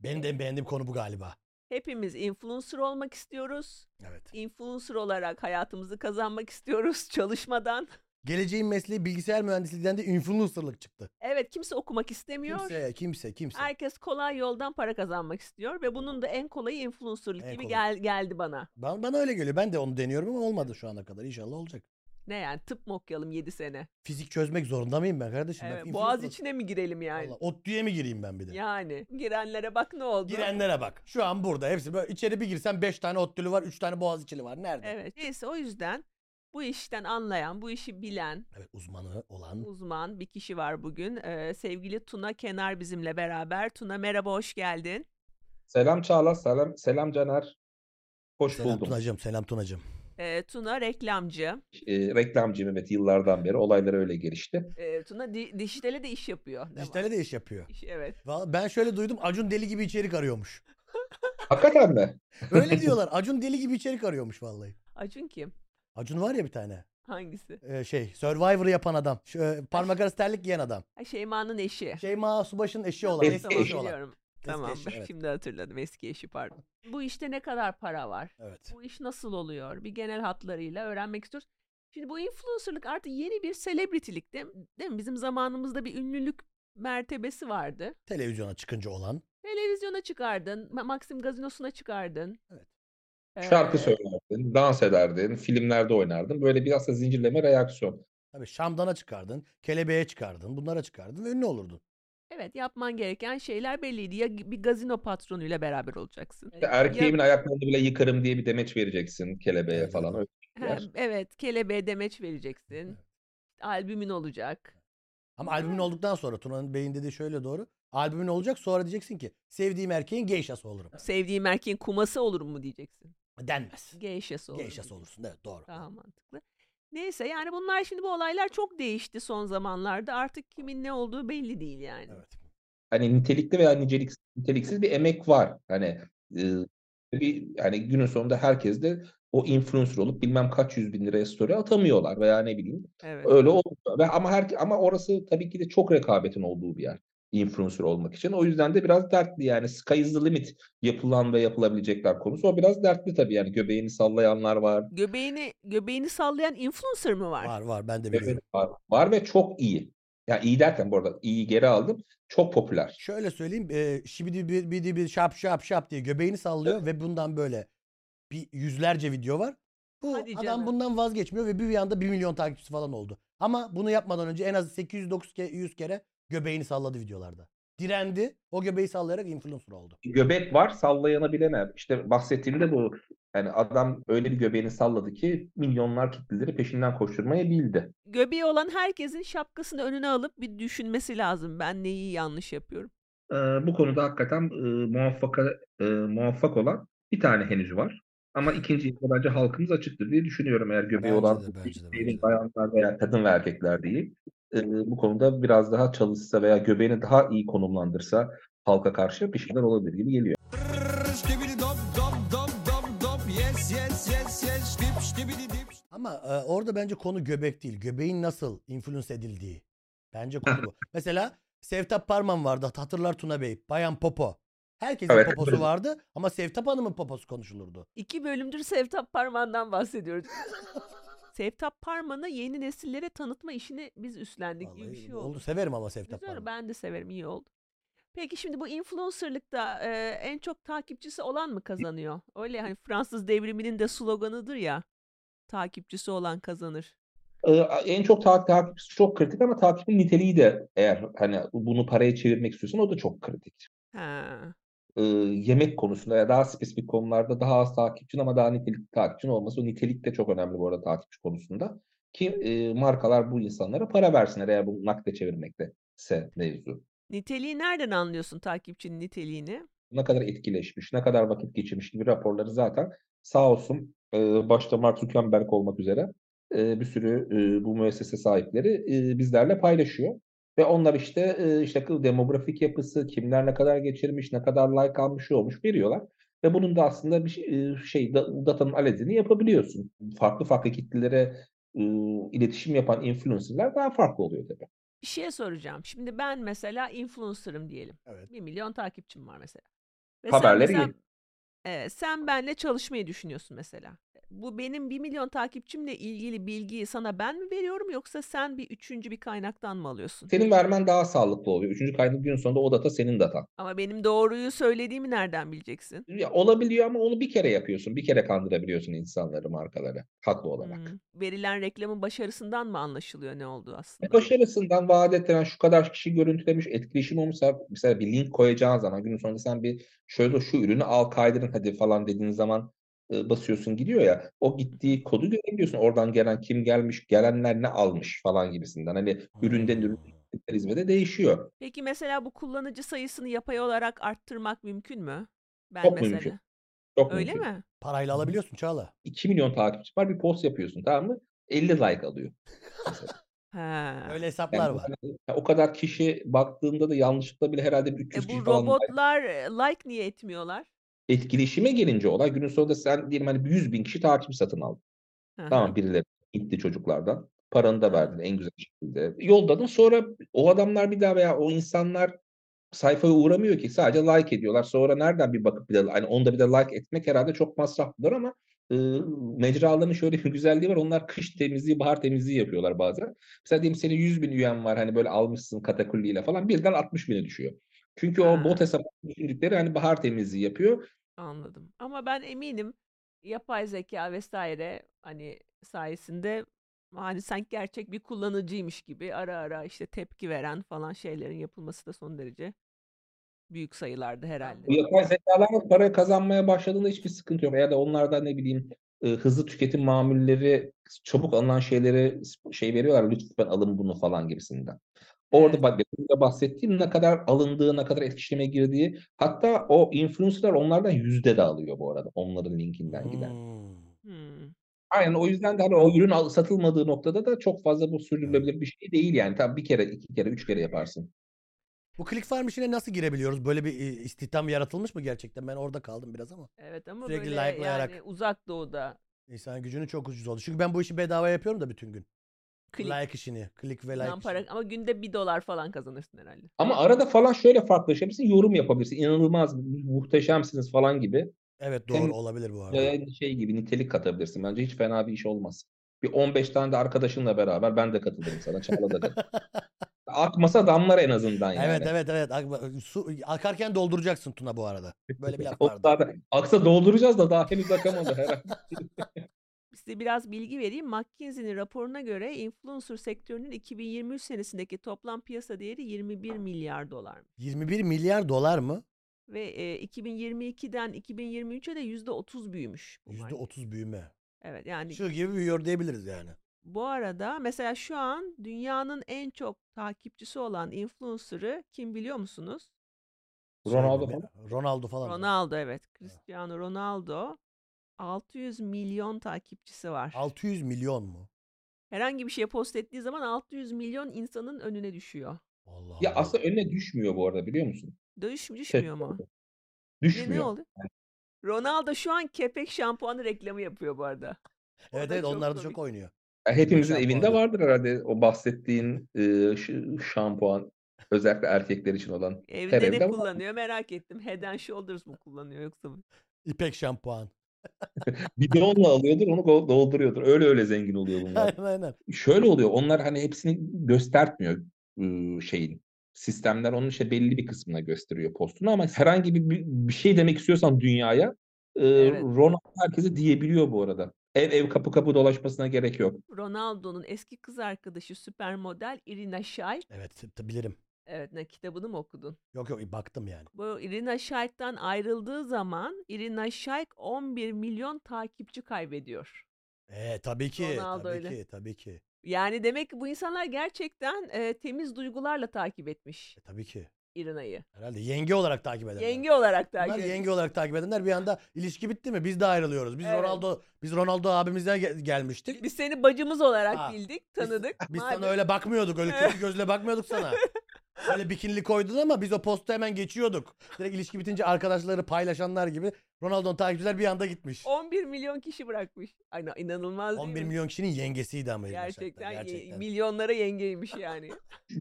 Benim de en beğendiğim konu bu galiba.
Hepimiz influencer olmak istiyoruz.
Evet.
Influencer olarak hayatımızı kazanmak istiyoruz çalışmadan.
Geleceğin mesleği bilgisayar mühendisliğinden de influencerlık çıktı.
Evet kimse okumak istemiyor.
Kimse kimse kimse.
Herkes kolay yoldan para kazanmak istiyor ve bunun da en kolayı influencerlık
En
gibi
kolay.
gel- geldi bana.
Ben, bana öyle geliyor. Ben de onu deniyorum ama olmadı şu ana kadar. İnşallah olacak.
Ne yani tıp mı okuyalım 7 sene?
Fizik çözmek zorunda mıyım ben kardeşim? Ben
Evet,
influencer-
boğaz içine mi girelim yani?
Vallahi ODTÜ'ye mi gireyim ben bir de?
Yani girenlere bak ne oldu?
Girenlere bak. Şu an burada hepsi böyle içeri bir girsen 5 tane ODTÜ'lü var, 3 tane Boğaziçi'li var. Nerede?
Evet. Neyse o yüzden bu işten anlayan, bu işi bilen,
Evet, uzmanı olan
uzman bir kişi var bugün. Ee, sevgili Tuna Kenar bizimle beraber. Tuna merhaba hoş geldin.
Selam Çağla, selam selam Caner. Hoş
Selam
buldum.
Tunacığım, Selam Tunacığım.
Ee, Tuna reklamcı.
E, reklamcıyım evet yıllardan beri. Olaylar öyle gelişti.
Ee, Tuna di- dijitale de iş yapıyor. değil mi?
Dijitale de iş yapıyor.
İş- Evet.
Vallahi ben şöyle duydum Acun deli gibi içerik arıyormuş.
Hakikaten mi?
Öyle diyorlar. Acun deli gibi içerik arıyormuş vallahi.
Acun kim?
Acun var ya bir tane.
Hangisi?
e, şey Survivor yapan adam. Şu, e, parmak arası terlik giyen adam.
Ha, Şeyma'nın eşi.
Şeyma Subaş'ın eşi olan.
Tamam,
Eski
tamam,
eşi olan.
biliyorum.
Eski
Tamam
eşi, evet.
şimdi hatırladım eski eşi pardon. Bu işte ne kadar para var?
Evet.
Bu iş nasıl oluyor? Bir genel hatlarıyla öğrenmek istiyoruz. Şimdi bu influencerlık artık yeni bir selebritilik değil, değil mi? Bizim zamanımızda bir ünlülük mertebesi vardı.
Televizyona çıkınca olan.
Televizyona çıkardın, Ma- Maxim Gazinosu'na çıkardın.
Evet.
Şarkı
Ee,
söylerdin, dans ederdin, filmlerde oynardın. Böyle biraz da zincirleme reaksiyon.
Tabii Şamdan'a çıkardın, Kelebeğe çıkardın, bunlara çıkardın ve ünlü olurdun.
Evet yapman gereken şeyler belliydi. Ya bir gazino patronuyla beraber olacaksın.
İşte erkeğimin
Ee, Ya-
ayaklarını bile yıkarım diye bir demeç vereceksin kelebeğe
Evet,
falan.
evet.
Ha,
var.
evet kelebeğe demeç vereceksin. Albümün olacak.
Ama albümün olduktan sonra Tuna'nın beyin dediği şöyle doğru. Albümün olacak sonra diyeceksin ki sevdiğim erkeğin geyşası olurum.
Sevdiğim erkeğin kuması olur mu diyeceksin.
Denmez.
Geyşesi olur.
Geyşası
mu?
olursun. Evet doğru.
Daha mantıklı. Neyse yani bunlar şimdi bu olaylar çok değişti son zamanlarda. Artık kimin ne olduğu belli değil yani.
Evet.
Hani nitelikli veya niceliksiz, niteliksiz bir emek var. Hani e, bir yani günün sonunda herkes de o influencer olup bilmem kaç yüz bin liraya story atamıyorlar veya ne bileyim
Evet.
Öyle olmuyor. Ve ama her ama orası tabii ki de çok rekabetin olduğu bir yer influencer olmak için. O yüzden de biraz dertli yani sky is the limit yapılan ve yapılabilecekler konusu. O biraz dertli tabii yani göbeğini sallayanlar var.
Göbeğini göbeğini sallayan influencer mı var?
Var var ben de
göbek
biliyorum.
var, var ve çok iyi. Yani iyi derken bu arada iyi geri aldım. Çok popüler.
Şöyle söyleyeyim. E, şibidi bir bidi bir şap şap şap diye göbeğini sallıyor ve bundan böyle bir yüzlerce video var. Bu
Hadi
adam
canım.
bundan vazgeçmiyor ve bir anda 1 milyon takipçisi falan oldu. Ama bunu yapmadan önce en az 800-900 kere, 100 kere göbeğini salladı videolarda. Direndi. O göbeği sallayarak influencer oldu.
Göbek var sallayana bilemem. İşte bahsettiğim de bu. Yani adam öyle bir göbeğini salladı ki milyonlar kitleleri peşinden koşturmaya bildi.
Göbeği olan herkesin şapkasını önüne alıp bir düşünmesi lazım. Ben neyi yanlış yapıyorum?
Ee, bu konuda hakikaten e, muvaffaka, e, muvaffak olan bir tane henüz var. Ama ikinciyi de bence halkımız açıktır diye düşünüyorum eğer göbeği
Bence
olan
de, bence de,
değil,
bence de.
bayanlar veya kadın ve erkekler değil. Ee, bu konuda biraz daha çalışsa veya göbeğini daha iyi konumlandırsa halka karşı bir şeyler olabilir gibi geliyor.
Ama e, orada bence konu göbek değil. Göbeğin nasıl influence edildiği. Bence konu bu. Mesela Sevtap Parman vardı. Hatırlar Tuna Bey. Bayan Popo. Herkesin
Evet.
poposu vardı ama Sevtap Hanım'ın poposu konuşulurdu.
İki bölümdür Sevtap Parman'dan bahsediyoruz. Sevtap Parman'ı yeni nesillere tanıtma işini biz üstlendik gibi bir
Vallahi
şey
oldu.
oldu.
Severim ama Sevtap
Güzel,
Parman.
ben de severim, iyi oldu. Peki şimdi bu influencerlıkta e, en çok takipçisi olan mı kazanıyor? Öyle hani Fransız devriminin de sloganıdır ya. Takipçisi olan kazanır.
Ee, en çok ta- takipçisi çok kritik ama takipin niteliği de eğer hani bunu paraya çevirmek istiyorsan o da çok kritik.
Ha.
e, yemek konusunda ya daha spesifik konularda daha az takipçin ama daha nitelikli takipçin olması. O nitelik de çok önemli bu arada takipçi konusunda. Ki e, markalar bu insanlara para versinler eğer bunu nakde çevirmekte ise mevzu.
Niteliği nereden anlıyorsun takipçinin niteliğini?
ne kadar etkileşmiş, ne kadar vakit geçirmiş gibi raporları zaten sağ olsun e, başta Mark Zuckerberg olmak üzere e, bir sürü e, bu müessese sahipleri e, bizlerle paylaşıyor. Ve onlar işte e, işte kıl demografik yapısı, kimler ne kadar geçirmiş, ne kadar like almış, şu olmuş veriyorlar. Ve bunun da aslında bir şey, e, şey da- datanın analizini yapabiliyorsun. Farklı farklı kitlelere e, iletişim yapan influencerlar daha farklı oluyor tabii.
Bir şey soracağım. Şimdi ben mesela influencer'ım diyelim.
Evet.
1 milyon takipçim var mesela. Ve
Haberleri
sen,
iyi.
mesela, e, sen benle çalışmayı düşünüyorsun mesela. Bu benim 1 milyon takipçimle ilgili bilgiyi sana ben mi veriyorum yoksa sen bir üçüncü bir kaynaktan mı alıyorsun?
Senin vermen daha sağlıklı oluyor. Üçüncü kaynak günün sonunda o data senin datan.
Ama benim doğruyu söylediğimi nereden bileceksin?
Ya olabiliyor ama onu bir kere yapıyorsun. Bir kere kandırabiliyorsun insanları, markaları haklı olarak. E,
Hmm, Verilen reklamın başarısından mı anlaşılıyor ne olduğu aslında?
Başarısından vaat ettiren şu kadar kişi görüntülemiş, etkileşim olmuşsa mesela bir link koyacağın zaman günün sonunda sen bir şöyle şu ürünü al kaydırın hadi falan dediğin zaman e, basıyorsun gidiyor ya. O gittiği kodu görebiliyorsun. Oradan gelen kim gelmiş, gelenler ne almış falan gibisinden. Hani üründen ürüne hizmete değişiyor.
Peki mesela bu kullanıcı sayısını yapay olarak arttırmak mümkün mü? Ben
Çok
mesela.
mümkün, Çok
Öyle
mümkün.
mi?
Parayla alabiliyorsun Çağla.
2 milyon takipçi var bir post yapıyorsun tamam mı? 50 like alıyor.
Ha.
Öyle hesaplar
Yani
var.
yani o kadar kişi baktığında da yanlışlıkla bile herhalde bir 300
E
kişi
bu
falan like-
robotlar e, like niye etmiyorlar?
etkileşime gelince olay günün sonunda sen diyelim hani 100 bin kişi takip satın aldın.
Hı hı.
Tamam birileri gitti çocuklardan. Paranı da
Aha.
verdin en güzel şekilde. Yolladın sonra o adamlar bir daha veya o insanlar sayfaya uğramıyor ki sadece like ediyorlar. Sonra nereden bir bakıp bir de hani onda bir de like etmek herhalde çok masraflıdır ama e, mecraların şöyle bir güzelliği var. Onlar kış temizliği, bahar temizliği yapıyorlar bazen. Mesela diyelim senin 100 bin üyen var hani böyle almışsın katakulliyle falan birden 60 bine düşüyor. Çünkü
Ha.
o bot hesap düşündükleri hani bahar temizliği yapıyor.
Anladım. Ama ben eminim yapay zeka vesaire hani sayesinde hani sanki gerçek bir kullanıcıymış gibi ara ara işte tepki veren falan şeylerin yapılması da son derece büyük sayılarda herhalde.
Bu yapay zekalar para kazanmaya başladığında hiçbir sıkıntı yok. Eğer de onlardan ne bileyim e, hızlı tüketim mamulleri, çabuk alınan şeyleri şey veriyorlar lütfen alın bunu falan gibisinden. Orada
Evet.
bak benim de bahsettiğim ne kadar alındığı, ne kadar etkileşime girdiği. Hatta o influencerlar onlardan yüzde de alıyor bu arada onların linkinden giden.
Hmm.
Hmm.
Aynen o yüzden de hani o ürün al- satılmadığı noktada da çok fazla bu sürdürülebilir bir şey değil yani. Tabii bir kere, iki kere, üç kere yaparsın.
Bu ClickFarm işine nasıl girebiliyoruz? Böyle bir e, istihdam yaratılmış mı gerçekten? Ben orada kaldım biraz ama.
Evet ama
Sürekli
böyle
like'layarak.
yani uzak doğuda
İnsan gücünü çok ucuz oldu. Çünkü ben bu işi bedava yapıyorum da bütün gün.
klik
Like işini. Click ve like
lan para
işini.
ama günde bir dolar falan kazanırsın herhalde.
Ama arada falan şöyle farklılaşabilirsin, yorum yapabilirsin. İnanılmaz, muhteşemsiniz falan gibi.
Evet
Hem-
doğru olabilir bu arada.
Yayın şey gibi nitelik katabilirsin. Bence hiç fena bir iş olmaz. Bir 15 tane de arkadaşınla beraber ben de katılırım sana. Çağla da katılır. Akmasa damlar en azından yani.
evet evet evet. Ak- Su, akarken dolduracaksın Tuna bu arada. Böyle bir laf
O
vardı.
zaten aksa dolduracağız da daha henüz akamadı herhalde.
Size biraz bilgi vereyim. McKinsey'nin raporuna göre influencer sektörünün 2023 senesindeki toplam piyasa değeri 21 milyar dolar.
21 milyar dolar mı?
Ve e, 2022'den 2023'e de %30 büyümüş. bu market.
%30 büyüme.
Evet yani
Şu gibi büyüyor diyebiliriz yani.
bu arada mesela şu an dünyanın en çok takipçisi olan influencer'ı kim biliyor musunuz?
Ronaldo
Şey,
falan.
Ronaldo falan.
Ronaldo evet. Cristiano Ronaldo 600 milyon takipçisi var.
600 milyon mu?
Herhangi bir şeye post ettiği zaman 600 milyon insanın önüne düşüyor.
Allah
Ya
Allah.
aslında önüne düşmüyor bu arada biliyor musun?
Dönüş
Şey,
düşmüyor mu? Ne, ne
düşmüyor.
oldu? Ronaldo şu an kepek şampuanı reklamı yapıyor bu arada. O
Evet
da
evet
çok
onlar da
komik.
çok oynuyor.
Ya Hepimizin
Şampuan
evinde
da.
vardır herhalde o bahsettiğin e, şu şampuan. Özellikle erkekler için olan. Her
Evde ne
evde var.
kullanıyor merak ettim. Head and Shoulders mı kullanıyor yoksa? bu-
İpek şampuan.
Bidonla alıyordur onu dolduruyordur. Öyle öyle zengin oluyor bunlar.
aynen aynen.
şöyle oluyor. Onlar hani hepsini göstertmiyor ıı, şeyin. Sistemler onun işte belli bir kısmına gösteriyor postunu ama herhangi bir bir bir şey demek istiyorsan dünyaya ıı,
Evet.
Ronaldo herkese diyebiliyor bu arada. Ev ev kapı kapı dolaşmasına gerek yok.
Ronaldo'nun eski kız arkadaşı süpermodel Irina Shayk.
Evet t- bilirim.
Evet ne kitabını mı okudun?
Yok yok baktım yani.
Bu Irina Shayk'tan ayrıldığı zaman Irina Shayk 11 milyon takipçi kaybediyor.
Ee, tabii ki,
Ronaldo
tabii
öyle.
ki, tabii ki.
Yani demek ki bu insanlar gerçekten e, temiz duygularla takip etmiş.
E, tabii ki.
İrina'yı.
Herhalde yenge olarak takip edenler.
Yenge olarak da.
Bunlar yenge olarak takip edenler bir anda ilişki bitti mi? Biz de ayrılıyoruz. Biz
Evet.
Ronaldo biz Ronaldo abimizden ge- gelmiştik.
Biz seni bacımız olarak
Ha,
bildik, tanıdık.
Ah, Biz
Madem-
sana öyle bakmıyorduk. Öyle kötü gözle bakmıyorduk sana. Öyle bikinili koydun ama biz o postu hemen geçiyorduk. Direkt ilişki bitince arkadaşları paylaşanlar gibi Ronaldo'nun takipçiler bir anda gitmiş.
11 milyon kişi bırakmış. Ay, na- inanılmaz değil
11
mi?
milyon kişinin yengesiydi ama. İlhan Şentner,
Gerçekten, ye-
gerçekten.
milyonlara yengeymiş yani.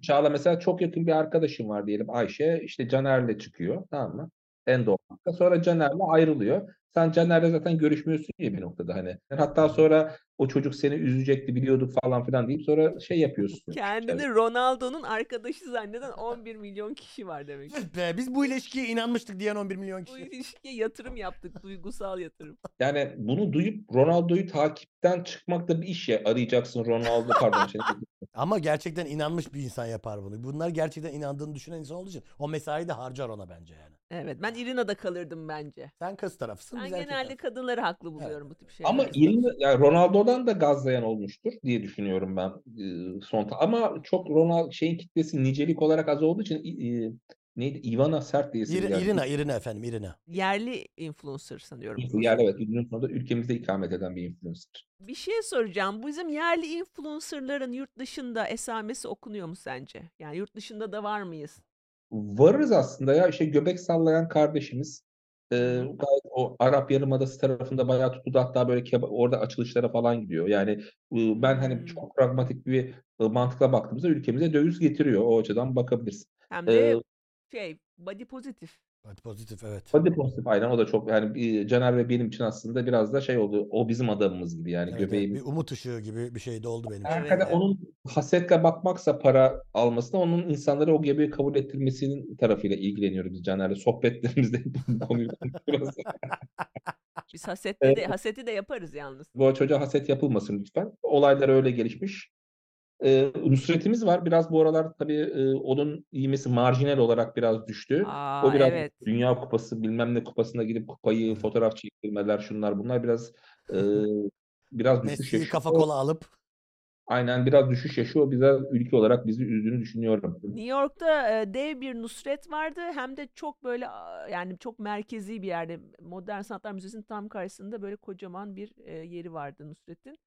Çağla mesela çok yakın bir arkadaşım var diyelim Ayşe. İşte Caner'le çıkıyor tamam mı? En doğal. nokta. Sonra Caner'le ayrılıyor. Sen Caner'le zaten görüşmüyorsun ya bir noktada hani. Hatta sonra o çocuk seni üzecekti biliyorduk falan filan deyip sonra şey yapıyorsun.
Kendini Ronaldo'nun arkadaşı zanneden 11 milyon kişi var demek. ki.
Tüh be, biz bu ilişkiye inanmıştık diyen 11 milyon
Bu
kişi.
ilişkiye yatırım yaptık, duygusal yatırım.
Yani bunu duyup Ronaldo'yu takipten çıkmak da bir iş ya. Arayacaksın Ronaldo pardon. Şey,
Ama gerçekten inanmış bir insan yapar bunu. Bunlar gerçekten inandığını düşünen insan olduğu için o mesai de harcar ona bence yani.
Evet, ben İrina'da kalırdım bence.
Sen kız tarafısın.
Ben
biz erkek
genelde
tarafı.
kadınları haklı buluyorum bu tip şeylerde.
Ama İrina, yani Ronaldo'dan da gazlayan olmuştur diye düşünüyorum ben e, son. ta- Ama çok Ronaldo şeyin kitlesi nicelik olarak az olduğu için i- i- neydi? Ivana sert diye isim
İri-
geldi.
İrina, İrina efendim, İrina.
yerli influencer sanıyorum.
Yani evet günün sonunda ülkemizde ikamet eden bir influencer.
Bir şey soracağım. Bu bizim yerli influencerların yurt dışında esamesi okunuyor mu sence? Yani yurt dışında da var mıyız?
Varırız aslında ya işte göbek sallayan kardeşimiz e, gayet o Arap Yarımadası tarafında bayağı tutuldu hatta böyle keba- orada açılışlara falan gidiyor. Yani e, ben hani
Hmm.
çok pragmatik bir e, mantıkla baktığımızda ülkemize döviz getiriyor. O açıdan bakabilirsin.
Hem de
E,
şey body pozitif.
Hadi pozitif evet.
Body pozitif aynen o da çok yani e, Caner ve benim için aslında biraz da şey oldu o bizim adamımız gibi yani
Evet, evet,
göbeğimiz.
bir umut ışığı gibi bir şey de oldu benim için.
Hakikaten
Evet.
onun hasetle bakmaksa para almasına onun insanlara o göbeği kabul ettirmesinin tarafıyla ilgileniyoruz biz Caner'le. Sohbetlerimizde bu konuyu konuşuyoruz.
Biz hasetle de haseti de yaparız yalnız.
Bu çocuğa haset yapılmasın lütfen. Olaylar öyle gelişmiş. Ee, nusretimiz var. Biraz bu aralar tabii e, onun iğmesi marjinal olarak biraz düştü.
Aa
O biraz
evet.
Dünya Kupası bilmem ne kupasına gidip kupayı fotoğraf çektirmeler şunlar bunlar biraz e, biraz düşüş
Messi'yi
yaşı.
kafa
O-
kola alıp
Aynen biraz düşüş yaşı o bize ülke olarak bizi üzdüğünü düşünüyorum.
New York'ta e, dev bir Nusret vardı. Hem de çok böyle a, yani çok merkezi bir yerde. Modern Sanatlar Müzesi'nin tam karşısında böyle kocaman bir e, yeri vardı Nusret'in.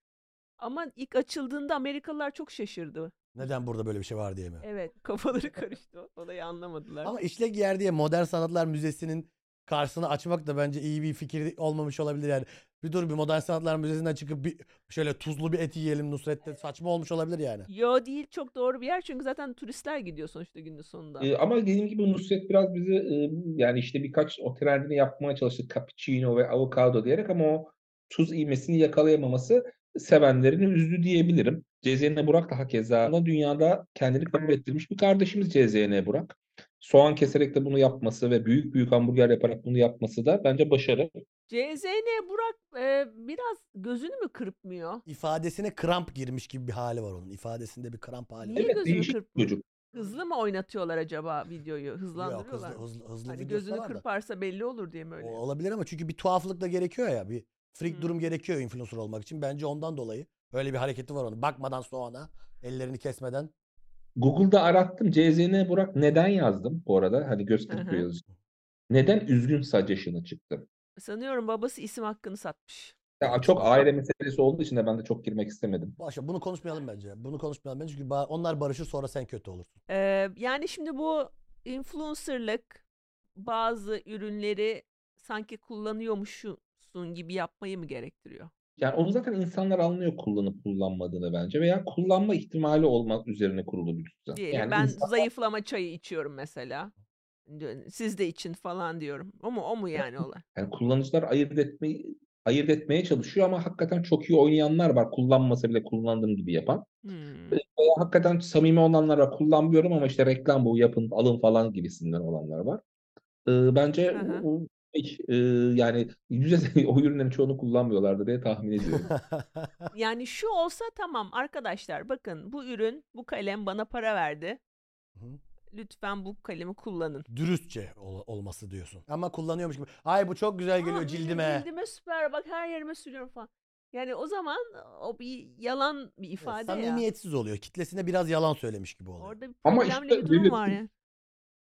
Ama ilk açıldığında Amerikalılar çok şaşırdı.
neden burada böyle bir şey var diye mi?
Evet, kafaları karıştı. Olayı anlamadılar.
Ama işlek yer diye Modern Sanatlar Müzesi'nin karşısını açmak da bence iyi bir fikir olmamış olabilir yani. Bir dur bir Modern Sanatlar Müzesi'nden çıkıp bir şöyle tuzlu bir et yiyelim Nusret'te saçma olmuş olabilir yani.
Yo değil çok doğru bir yer çünkü zaten turistler gidiyor sonuçta günün sonunda.
E, ama dediğim gibi Nusret biraz bizi e, yani işte birkaç o trendini yapmaya çalıştı. Cappuccino ve avokado diyerek ama o tuz iğmesini yakalayamaması sevenlerini üzdü diyebilirim. CZN Burak da hakeza da dünyada kendini kabul ettirmiş bir kardeşimiz CZN Burak. Soğan keserek de bunu yapması ve büyük büyük hamburger yaparak bunu yapması da bence başarı.
CZN Burak e, biraz gözünü mü kırpmıyor?
İfadesine kramp girmiş gibi bir hali var onun. İfadesinde bir kramp hali var.
Niye
Evet,
gözünü
değişik bir
kırpmıyor?
çocuk.
Hızlı mı oynatıyorlar acaba videoyu?
Yok
Hızlandırıyorlar.
hızlı
mı?
hızlı, hızlı
hani
videosu
gözünü
var da.
kırparsa belli olur diye mi öyle?
O
yapıyor?
olabilir ama çünkü bir tuhaflık da gerekiyor ya. Bir freak
Hmm.
durum gerekiyor influencer olmak için. Bence ondan dolayı. Öyle bir hareketi var onun. Bakmadan soğana, ellerini kesmeden.
Google'da arattım. CZN Burak neden yazdım bu arada? Hani göz
Hı hı.
kırpıyor yazısı. Neden üzgün suggestion'ı çıktı?
Sanıyorum babası isim hakkını satmış.
Ya çok aile meselesi olduğu için de ben de çok girmek istemedim.
Başka bunu konuşmayalım bence. Bunu konuşmayalım bence çünkü ba- onlar barışır sonra sen kötü olursun.
Ee, yani şimdi bu influencerlık bazı ürünleri sanki kullanıyormuşsun gibi yapmayı mı gerektiriyor?
Yani onu zaten insanlar anlıyor kullanıp kullanmadığını bence veya kullanma ihtimali olmak üzerine kurulu bir düzen.
Diyelim
Yani
ben
insan-
zayıflama çayı içiyorum mesela. Diyor- Siz de için falan diyorum. O mu o mu yani olay?
yani kullanıcılar ayırt etmeyi ayırt etmeye çalışıyor ama hakikaten çok iyi oynayanlar var. Kullanmasa bile kullandığım gibi yapan.
Hmm.
Veya hakikaten samimi olanlar var. Kullanmıyorum ama işte reklam bu yapın alın falan gibisinden olanlar var. Ee, bence
Hı hı.
o- o- şey, e, yani yüzde o ürünlerin çoğunu kullanmıyorlardı diye tahmin ediyorum.
Yani şu olsa tamam arkadaşlar bakın bu ürün bu kalem bana para verdi.
Hı.
Lütfen bu kalemi kullanın.
Dürüstçe ol- olması diyorsun. Ama kullanıyormuş gibi. Ay bu çok güzel geliyor
Aa,
cildime.
Cildime süper bak her yerime sürüyorum falan. Yani o zaman o bir yalan bir
Evet,
ifade ya.
Samimiyetsiz oluyor. Kitlesine biraz yalan söylemiş gibi oluyor.
Orada bir
Ama
problemli
işte
bir durum
böyle-
var ya.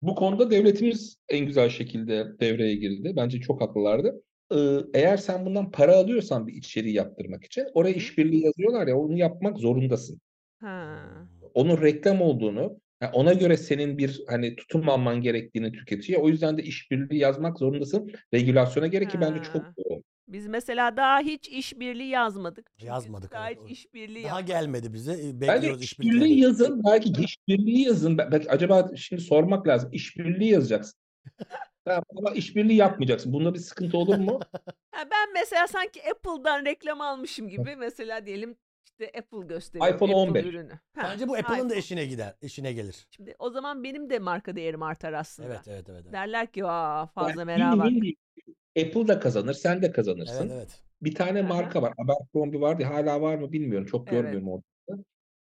Bu konuda devletimiz en güzel şekilde devreye girdi. Bence çok haklılardı. Ee, Eğer sen bundan para alıyorsan bir içeriği yaptırmak için oraya işbirliği yazıyorlar ya onu yapmak zorundasın.
Ha.
Hmm.
Onun reklam olduğunu, ha, ona göre senin bir hani tutum alman gerektiğini tüketiciye. O yüzden de işbirliği yazmak zorundasın. Regülasyona gerek ki bence çok
Ha.
doğru.
Biz mesela daha hiç işbirliği yazmadık. Çünkü
Yazmadık,
Daha
evet,
hiç
doğru.
işbirliği
Daha
yap-
gelmedi bize. E,
Bence
Bekliyoruz
işbirliği
işbirliği.
yazın. Belki işbirliği yazın. Be- Belki acaba şimdi sormak lazım. İşbirliği yazacaksın. Tamam, ama işbirliği yapmayacaksın. Bunda bir sıkıntı olur mu?
Ha, ben mesela sanki Apple'dan reklam almışım gibi mesela diyelim işte Apple gösteriyor.
iPhone
Apple
15.
ürünü. Ha,
Bence bu Apple'ın da
iPhone.
eşine gider. Eşine gelir.
Şimdi o zaman benim de marka değerim artar aslında.
Evet evet evet. Evet
Derler ki aa fazla
Yani
merak var.
win-win bir- Apple da kazanır, sen de kazanırsın.
evet. evet.
Bir tane
Aha.
marka var. Abercrombie vardı. Hala var mı bilmiyorum. Çok
Evet.
görmüyorum orada.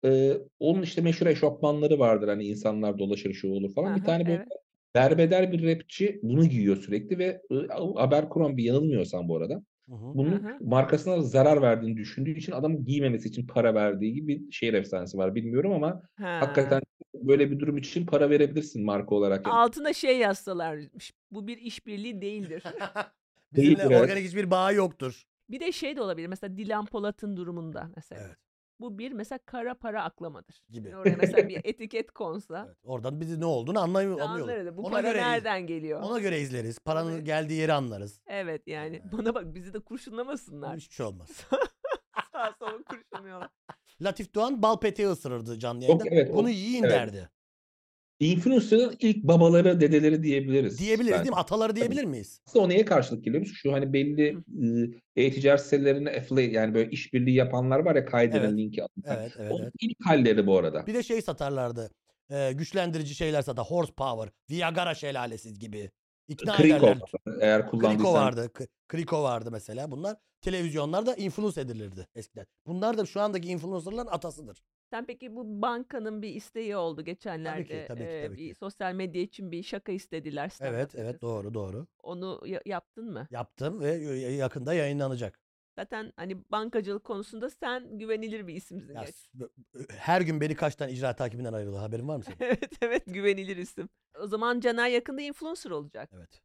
Ee, onun işte meşhur eşofmanları vardır. Hani insanlar dolaşır şu olur falan.
Aha,
bir tane böyle
evet.
derbeder bir rapçi bunu giyiyor sürekli ve e, Abercrombie yanılmıyorsam bu arada.
Hı hı.
Bunun
Aha.
markasına zarar verdiğini düşündüğü için adamın giymemesi için para verdiği gibi bir şehir efsanesi var. Bilmiyorum ama
Ha.
hakikaten böyle bir durum için para verebilirsin marka olarak. Yani
Altına şey yazsalarmış. Bu bir işbirliği değildir.
Bizimle
evet.
organik hiçbir bağı yoktur.
bir de şey de olabilir. Mesela Dilan Polat'ın durumunda mesela.
Evet.
Bu bir mesela kara para aklamadır.
Gibi.
Yani Oraya mesela bir etiket konsa.
Evet. Oradan bizi ne olduğunu anlamıyor- anlıyoruz.
Anlarız. Bu
Ona
para
göre,
nereden geliyor?
ona göre izleriz. Paranın
Ona-
geldiği yeri anlarız.
Evet yani.
Evet.
Bana bak bizi de kurşunlamasınlar.
Hiçbir şey olmaz.
Sağ sola kurşunluyorlar.
Latif Doğan bal peteği ısırırdı canlı yayında.
Yok, evet,
Bunu
o-
yiyin
evet.
derdi.
influencer'ın ilk babaları, dedeleri diyebiliriz.
Diyebiliriz
bence.
değil mi? Ataları diyebilir miyiz?
Aslında o neye karşılık geliyor? Şu hani belli e, e-ticaret sitelerine affiliate yani böyle işbirliği yapanlar var ya kaydının
Evet.
linki altına.
Evet, evet,
Onun
evet.
ilk halleri bu arada.
Bir de şey satarlardı. Ee, güçlendirici şeyler satar. Horsepower, Viagra şelalesi gibi. İkna
Kriko
ederler.
var, eğer
Kriko
kullandıysan.
vardı. K- Kriko vardı mesela. Bunlar televizyonlarda influence edilirdi eskiden. Bunlar da şu andaki influencerların atasıdır.
Sen peki bu bankanın bir isteği oldu geçenlerde.
tabii ki,
Ee,
tabii
bir
ki.
sosyal medya için bir şaka istediler. senden
Evet,
açıkçası.
evet doğru doğru.
Onu ya- yaptın mı?
Yaptım ve y- yakında yayınlanacak.
Zaten hani bankacılık konusunda sen güvenilir bir isimsin.
Ya,
gerçi.
s- her gün beni kaç tane icra takibinden ayrıldı. Haberin var mı senin?
evet evet güvenilir isim. O zaman Caner yakında influencer olacak.
Evet.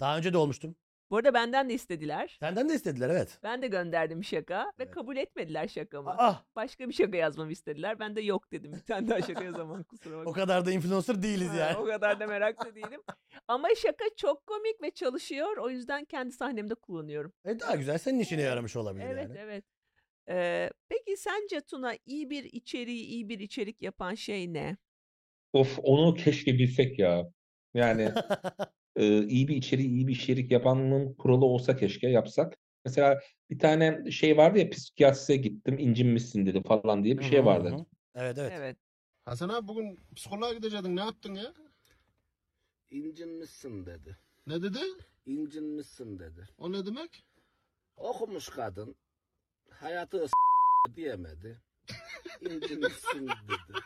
Daha önce de olmuştum.
Bu arada benden de istediler.
Senden de istediler evet.
Ben de gönderdim şaka ve
Evet.
kabul etmediler şakamı.
Ah
Başka bir şaka yazmamı istediler. Ben de yok dedim. Bir tane daha şaka yazamam kusura
o
bakma.
kadar da influencer değiliz
Ha,
yani.
o kadar da meraklı değilim. Ama şaka çok komik ve çalışıyor. O yüzden kendi sahnemde kullanıyorum.
E daha güzel senin işine yaramış olabilir
Evet
yani.
evet. Ee, peki sence Tuna iyi bir içeriği iyi bir içerik yapan şey ne?
Of onu keşke bilsek ya. Yani e, iyi bir içeriği, iyi bir içerik yapanın kuralı olsa keşke yapsak. Mesela bir tane şey vardı ya psikiyatriste gittim incinmişsin dedi falan diye bir şey vardı.
Hı hı. Evet evet.
Evet.
Hasan abi bugün psikoloğa gidecektin ne yaptın ya?
İncinmişsin dedi.
Ne dedi?
İncinmişsin dedi.
O ne demek?
Okumuş kadın hayatı s- diyemedi. İncinmişsin dedi.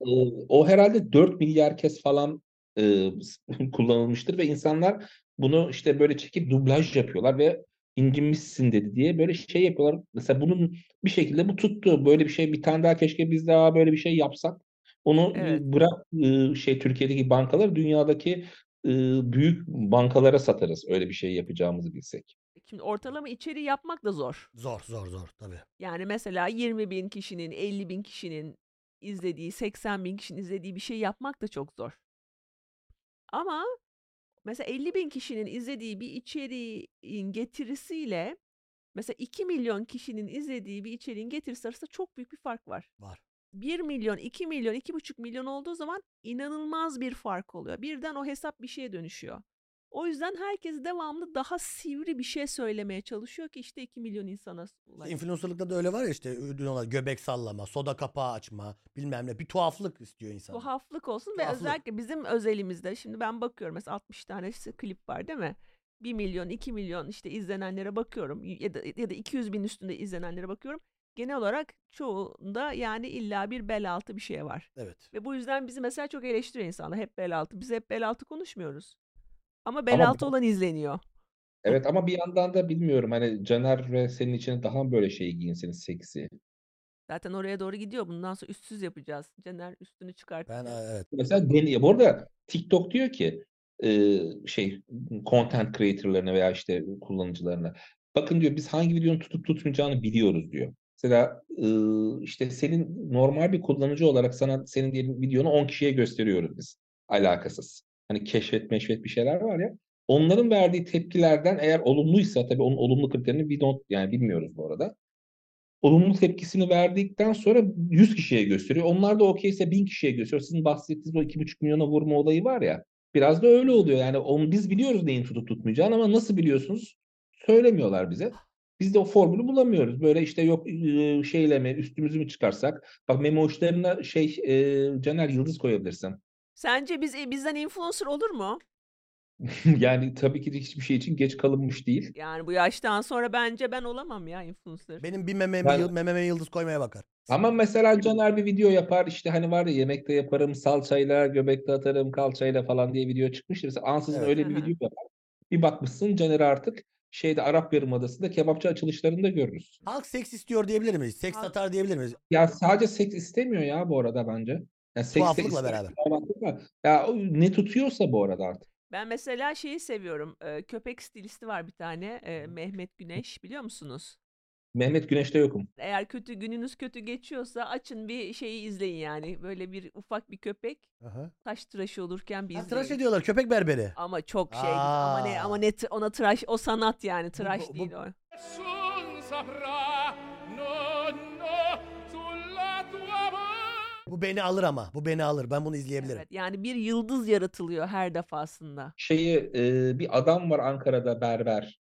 Ee, O herhalde 4 milyar kez falan e, kullanılmıştır ve insanlar bunu işte böyle çekip dublaj yapıyorlar ve incinmişsin dedi diye böyle şey yapıyorlar. Mesela bunun bir şekilde bu tuttu. Böyle bir şey bir tane daha keşke biz daha böyle bir şey yapsak. Onu e,
Evet.
bırak e, şey Türkiye'deki bankalar dünyadaki e, büyük bankalara satarız. Öyle bir şey yapacağımızı bilsek.
Şimdi ortalama içeriği yapmak da zor.
Zor zor zor tabii.
Yani mesela 20 bin kişinin, 50 bin kişinin izlediği, 80 bin kişinin izlediği bir şey yapmak da çok zor. Ama mesela 50 bin kişinin izlediği bir içeriğin getirisiyle mesela 2 milyon kişinin izlediği bir içeriğin getirisi arasında çok büyük bir fark var.
Var.
1 milyon, 2 milyon, 2,5 milyon olduğu zaman inanılmaz bir fark oluyor. Birden o hesap bir şeye dönüşüyor. O yüzden herkes devamlı daha sivri bir şey söylemeye çalışıyor ki işte 2 milyon insana
İşte
ulaşsın.
influencerlıkta da öyle var ya işte ürün olarak göbek sallama, soda kapağı açma, bilmem ne. Bir tuhaflık istiyor insan.
Tuhaflık olsun ve
Tuhaflık.
özellikle bizim özelimizde şimdi ben bakıyorum mesela 60 tane işte klip var değil mi? 1 milyon, 2 milyon işte izlenenlere bakıyorum ya da, ya da 200 bin üstünde izlenenlere bakıyorum. Genel olarak çoğunda yani illa bir bel altı bir şey var.
Evet.
Ve bu yüzden bizi mesela çok eleştiriyor insanlar hep bel altı. Biz hep bel altı konuşmuyoruz. Ama bel
Ama
altı
bu-
olan izleniyor.
Evet ama bir yandan da bilmiyorum hani Caner ve senin için daha mı böyle şey giyinseniz seksi.
Zaten oraya doğru gidiyor. Bundan sonra üstsüz yapacağız. Cener üstünü çıkart.
Ben evet.
Mesela deniyor. Bu arada TikTok diyor ki e, şey content creator'larına veya işte kullanıcılarına bakın diyor biz hangi videonun tutup tutmayacağını biliyoruz diyor. Mesela e, işte senin normal bir kullanıcı olarak sana senin diyelim videonu 10 kişiye gösteriyoruz biz. Alakasız. Hani keşfet meşfet bir şeyler var ya. Onların verdiği tepkilerden eğer olumluysa tabii onun olumlu kriterini bir not yani bilmiyoruz bu arada olumlu tepkisini verdikten sonra 100 kişiye gösteriyor. Onlar da okeyse 1000 kişiye gösteriyor. Sizin bahsettiğiniz o 2,5 milyona vurma olayı var ya. Biraz da öyle oluyor. Yani on, biz biliyoruz neyin tutup tutmayacağını ama nasıl biliyorsunuz? Söylemiyorlar bize. Biz de o formülü bulamıyoruz. Böyle işte yok e, şeyle mi üstümüzü mü çıkarsak? Bak memo uçlarına şey e, Caner Yıldız koyabilirsin.
Sence biz e, bizden influencer olur mu?
yani tabii ki de hiçbir şey için geç kalınmış değil.
Yani bu yaştan sonra bence ben olamam ya influencer.
Benim bir meme,
Ben-
yıl- mememe yıldız koymaya bakar.
Ama mesela Caner bir video yapar işte hani var ya yemekte yaparım salçayla göbekte atarım kalçayla falan diye video çıkmıştır. Mesela ansızın
Evet.
öyle
Hı
bir
hı.
video yapar. Bir bakmışsın Caner'i artık şeyde Arap Yarımadası'nda kebapçı açılışlarında görürüz.
Halk seks istiyor diyebilir miyiz? Seks
Halk-
satar diyebilir miyiz?
Ya sadece seks istemiyor ya bu arada bence. Yani seks de
Tuhaflıkla
istemek
beraber.
tuhaflıkla. Ya o ne tutuyorsa bu arada artık.
Ben mesela şeyi seviyorum. e, köpek stilisti var bir tane. e, Mehmet Güneş biliyor musunuz?
Mehmet Güneş'te yokum.
Eğer kötü gününüz kötü geçiyorsa açın bir şeyi izleyin yani. Böyle bir ufak bir köpek
Aha.
taş tıraşı olurken bir
Ha,
izleyin.
tıraş ediyorlar köpek berberi.
Ama çok şey ama ne
Aa.
ama ne tı- ona tıraş o sanat yani tıraş
bu-
değil o.
Bu beni alır ama. Bu beni alır. Ben bunu izleyebilirim.
Evet, yani bir yıldız yaratılıyor her defasında.
şeyi e, bir adam var Ankara'da berber.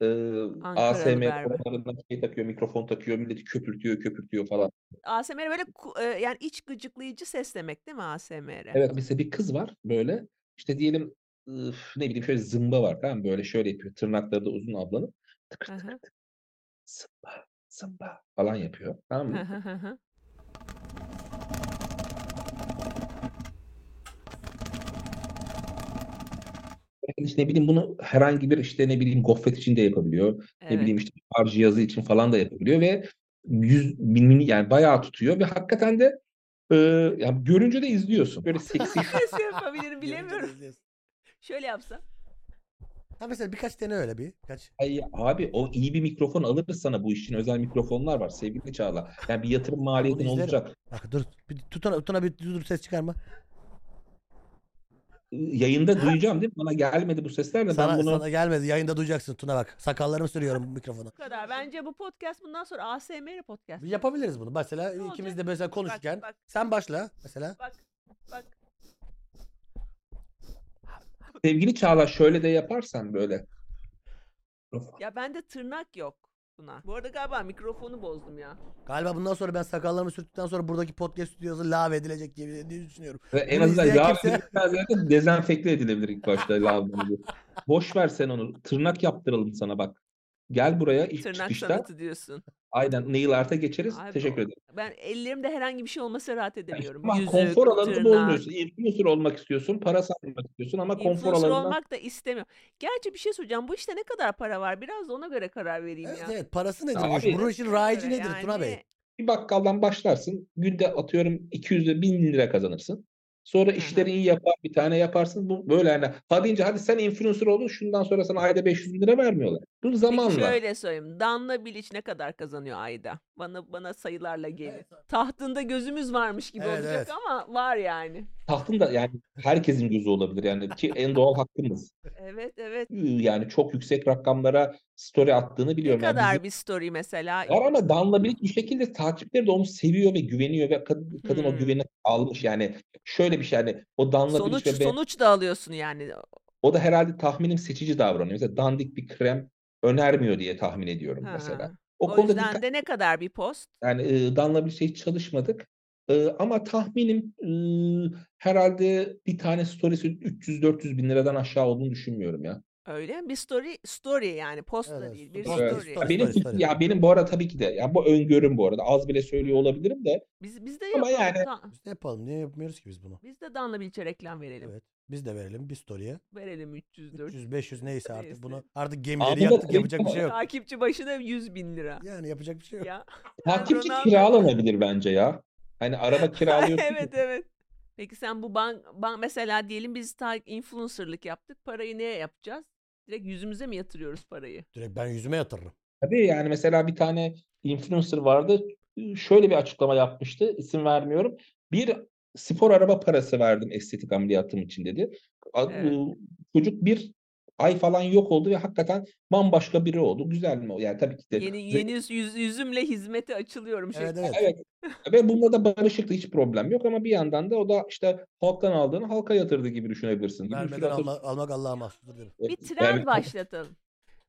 E,
Ankaralı
ASM
berber.
konularında şey takıyor, mikrofon takıyor, milleti köpürtüyor, köpürtüyor falan.
ASMR böyle ku- e, yani iç gıcıklayıcı ses demek değil mi ASMR?
Evet mesela bir kız var böyle işte diyelim üf, ne bileyim şöyle zımba var tamam mı? böyle şöyle yapıyor tırnakları da uzun ablanın tıkır
Hı hı.
tıkır tıkır zımba zımba falan yapıyor tamam mı? Yani işte ne bileyim bunu herhangi bir işte ne bileyim gofret için de yapabiliyor. ne bileyim işte şarj cihazı için falan da yapabiliyor ve yüz bin yani bayağı tutuyor ve hakikaten de e, yani görünce de izliyorsun. Böyle seksi
Nasıl yapabilirim bilemiyorum.
İzliyorsun.
Şöyle yapsam.
Ha mesela birkaç tane öyle bir. Kaç.
Ay, abi o iyi bir mikrofon alırız sana bu işin özel mikrofonlar var sevgili Çağla. Yani bir yatırım maliyetin
izlerim.
olacak.
Bak dur. Bir, tutana, tutana bir dur ses çıkarma.
E, Yayında duyacağım değil mi? Bana gelmedi bu sesler de ben
Sana,
bunu
sana gelmedi. Yayında duyacaksın Tuna bak. Sakallarımı sürüyorum mikrofona.
Bu kadar.
şey.
Bence bu podcast bundan sonra ASMR podcast.
Yapabiliriz bunu. Mesela
Ne
ikimiz de
olacak?
mesela konuşurken.
bak.
Sen başla mesela.
Bak bak.
sevgili Çağla şöyle de yaparsan böyle. Mikrofon.
Ya bende tırnak yok buna. Bu arada galiba mikrofonu bozdum ya.
Galiba bundan sonra ben sakallarımı sürttükten sonra buradaki podcast stüdyosu lave edilecek diye, diye düşünüyorum.
Ve en
Bunu
azından
izleyen
lav
kimse-
edilmez yerde dezenfekte edilebilir ilk başta lavabo. Boş ver sen onu. Tırnak yaptıralım sana bak. Gel buraya ilk
Tırnak
çıkışta.
sanatı diyorsun.
Aynen nail art'a geçeriz.
Abi
Teşekkür
o-
ederim.
Ben ellerimde herhangi bir şey olmasa rahat edemiyorum.
Ama
Yüzük,
konfor alanında
tırnak.
bozmuyorsun. Influencer olmak istiyorsun. Para satmak istiyorsun ama konfor
Influencer
alanından
olmak da istemiyorum. Gerçi bir şey söyleyeceğim. Bu işte ne kadar para var? Biraz da ona göre karar vereyim
Evet
ya. şey
evet parası nedir?
Abi-
bu işin? Bunun için rayici nedir Tuna Bey?
Yani
Bir bakkaldan başlarsın. Günde atıyorum 200 ile 1000 lira kazanırsın. Sonra
hı.
işleri iyi yapar bir tane yaparsın. Bu böyle yani ha deyince hadi sen influencer oldun şundan sonra sana ayda 500 bin lira vermiyorlar. Bunu
Peki
zamanla.
şöyle söyleyeyim. Danla Bilic ne kadar kazanıyor ayda? Bana bana sayılarla gelin. Tahtında gözümüz varmış gibi
Evet,
olacak
evet.
ama var yani.
Tahtın da yani herkesin gözü olabilir yani ki en doğal hakkımız.
Evet evet.
Yani çok yüksek rakamlara story attığını
Ne
biliyorum. Yani
kadar
bizim-
bir story mesela?
var ama Dan'la birlikte bir şekilde takipleri de onu seviyor ve güveniyor ve kadın, kadın o
Hmm.
güveni almış yani. Şöyle bir şey yani o Dan'la
Sonuç
Bilic ve ben-
sonuç da alıyorsun yani.
O da herhalde tahminim seçici davranıyor. Mesela dandik bir krem önermiyor diye tahmin ediyorum mesela.
Ha.
O
O,
konuda
yüzden
dikkat-
de ne kadar bir post?
yani e, Dan'la bir şey hiç çalışmadık. E, ama tahminim e, herhalde bir tane storiesi 300-400 bin liradan aşağı olduğunu düşünmüyorum ya.
Öyle mi? Bir story story yani post da
Evet,
değil. Bir
story,
story.
story.
Benim ya benim bu arada tabii ki de ya bu öngörüm bu arada az bile söylüyor olabilirim de
Biz biz de
Ama
yapalım.
yani-
Da-
Biz de yapalım. Niye yapmıyoruz ki biz bunu?
biz de Danla Bilic'e reklam verelim.
Evet. Biz de verelim bir story'e.
Verelim 300 400.
300 500 neyse artık
Neyse.
bunu. Artık gemileri
Abi
yaktık,
bakayım
yapacak bir
ama-
şey yok.
Takipçi başına 100 bin lira.
Yani yapacak bir şey yok.
Ya.
Takipçi
Ronaldo-
kiralanabilir bence ya. Hani araba kiralıyorsun.
evet evet. Peki sen bu bank, bank mesela diyelim biz ta influencerlık yaptık. Parayı neye yapacağız? Direkt yüzümüze mi yatırıyoruz parayı?
Direkt ben yüzüme yatırırım.
Tabii yani mesela bir tane influencer vardı. Şöyle bir açıklama yapmıştı. İsim vermiyorum. Bir spor araba parası verdim estetik ameliyatım için dedi. A- ıı,
Evet.
Çocuk bir ay falan yok oldu ve hakikaten bambaşka biri oldu. Güzel mi? o? Yani tabii ki de
Yeni yeni yüz, yüzümle hizmete açılıyorum şey.
Evet evet.
Evet. Ve bunda da barışıktı hiç problem yok ama bir yandan da o da işte halktan aldığını halka yatırdı gibi düşünebilirsin. Gibi bir sürü
Vermeden
atasözü-
alma- almak Allah'a mahsustur derim.
Bir
Evet.
trend
Yani-
başlatalım.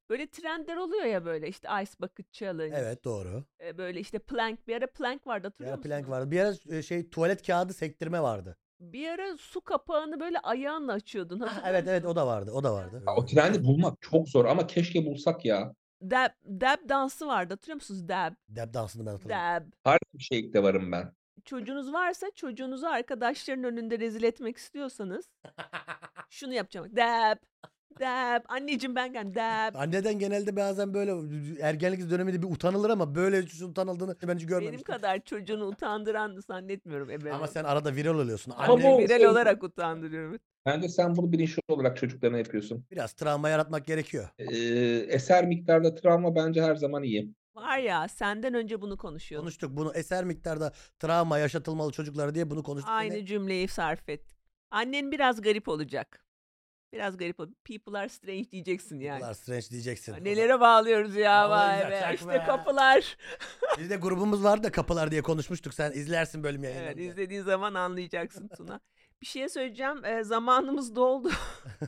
Böyle trendler oluyor ya böyle işte Ice Bucket Challenge.
Evet doğru.
e, Böyle işte plank bir ara plank vardı
Bir
hatırlıyor
ara
musun?
plank vardı. Bir ara e, şey tuvalet kağıdı sektirme vardı.
Bir ara su kapağını böyle ayağınla açıyordun.
Ah,
hatırlıyor
evet evet
musun?
o da vardı. O da vardı.
Ya O trendi bulmak çok zor ama keşke bulsak ya.
Dab, dab dansı vardı hatırlıyor musunuz? Dab,
Dab dansını ben hatırlamıyorum.
dab.
Her şeyde şey varım ben.
çocuğunuz varsa çocuğunuzu arkadaşların önünde rezil etmek istiyorsanız şunu yapacağım. Dap. Dap. Anneciğim ben gel. Dap.
Anneden genelde bazen böyle ergenlik döneminde bir utanılır ama böyle hiç utanıldığını bence
Benim
görmemiştim.
kadar çocuğunu utandıran zannetmiyorum ebeveyn.
Ama sen arada viral oluyorsun.
Ama
Anne
bu-
Viral olarak utandırıyorum.
Bence sen bunu bilinçli olarak çocuklarına yapıyorsun.
biraz travma yaratmak gerekiyor.
Ee, eser miktarda travma bence her zaman iyi.
Var ya senden önce bunu konuşuyorduk.
Konuştuk bunu eser miktarda travma yaşatılmalı çocuklara diye bunu konuştuk.
Aynı
Yine
cümleyi sarf ettik. Annen biraz garip olacak. Biraz garip ol. People are strange diyeceksin yani.
Bunlar strange diyeceksin.
Ya Nelere bağlıyoruz ya vay be.
Olacak
İşte
be.
kapılar.
Biz de grubumuz vardı da kapılar diye konuşmuştuk. Sen izlersin bölüm
Evet,
yayınlarını.
izlediğin zaman anlayacaksın Tuna. Bir şey söyleyeceğim. e, zamanımız doldu.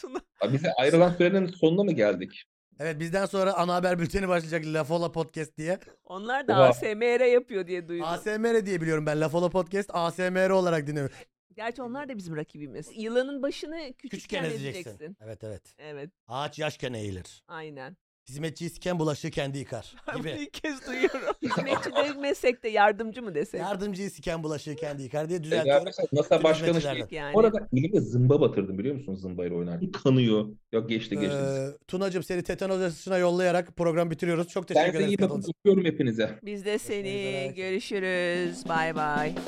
Tuna.
Abi Bize ayrılan sürenin sonuna mı geldik?
Evet bizden sonra ana haber bülteni başlayacak Lafola Podcast diye.
Onlar da
Oha.
ASMR yapıyor diye duydum.
ASMR diye biliyorum ben Lafola Podcast ASMR olarak dinliyorum.
Gerçi onlar da bizim rakibimiz. Yılanın başını küçükken
Küçükken
ezeceksin.
ezeceksin. Evet evet.
Evet,
Ağaç yaşken eğilir.
aynen.
Hizmetçi isken bulaşığı kendi yıkar
Bunu
gibi.
ilk kez duyuyorum. Hizmetçi demesek de yardımcı mı desek?
Yardımcı isken bulaşığı kendi yıkar diye
E,
düzeltiyorum.
ya mesela NASA Başkanı şey,
hizmetçilerden.
yani.
orada elime zımba batırdım biliyor musun zımbayla oynarken. Kanıyor. Yok geçti geçti.
Ee, Tunacığım seni tetanoz aşısına yollayarak program bitiriyoruz. Çok
ben
teşekkür
size
ederiz.
iyi bakın.
katıldığınız için.
Öpüyorum hepinize.
Biz de seni
üzere.
görüşürüz. Bay bay.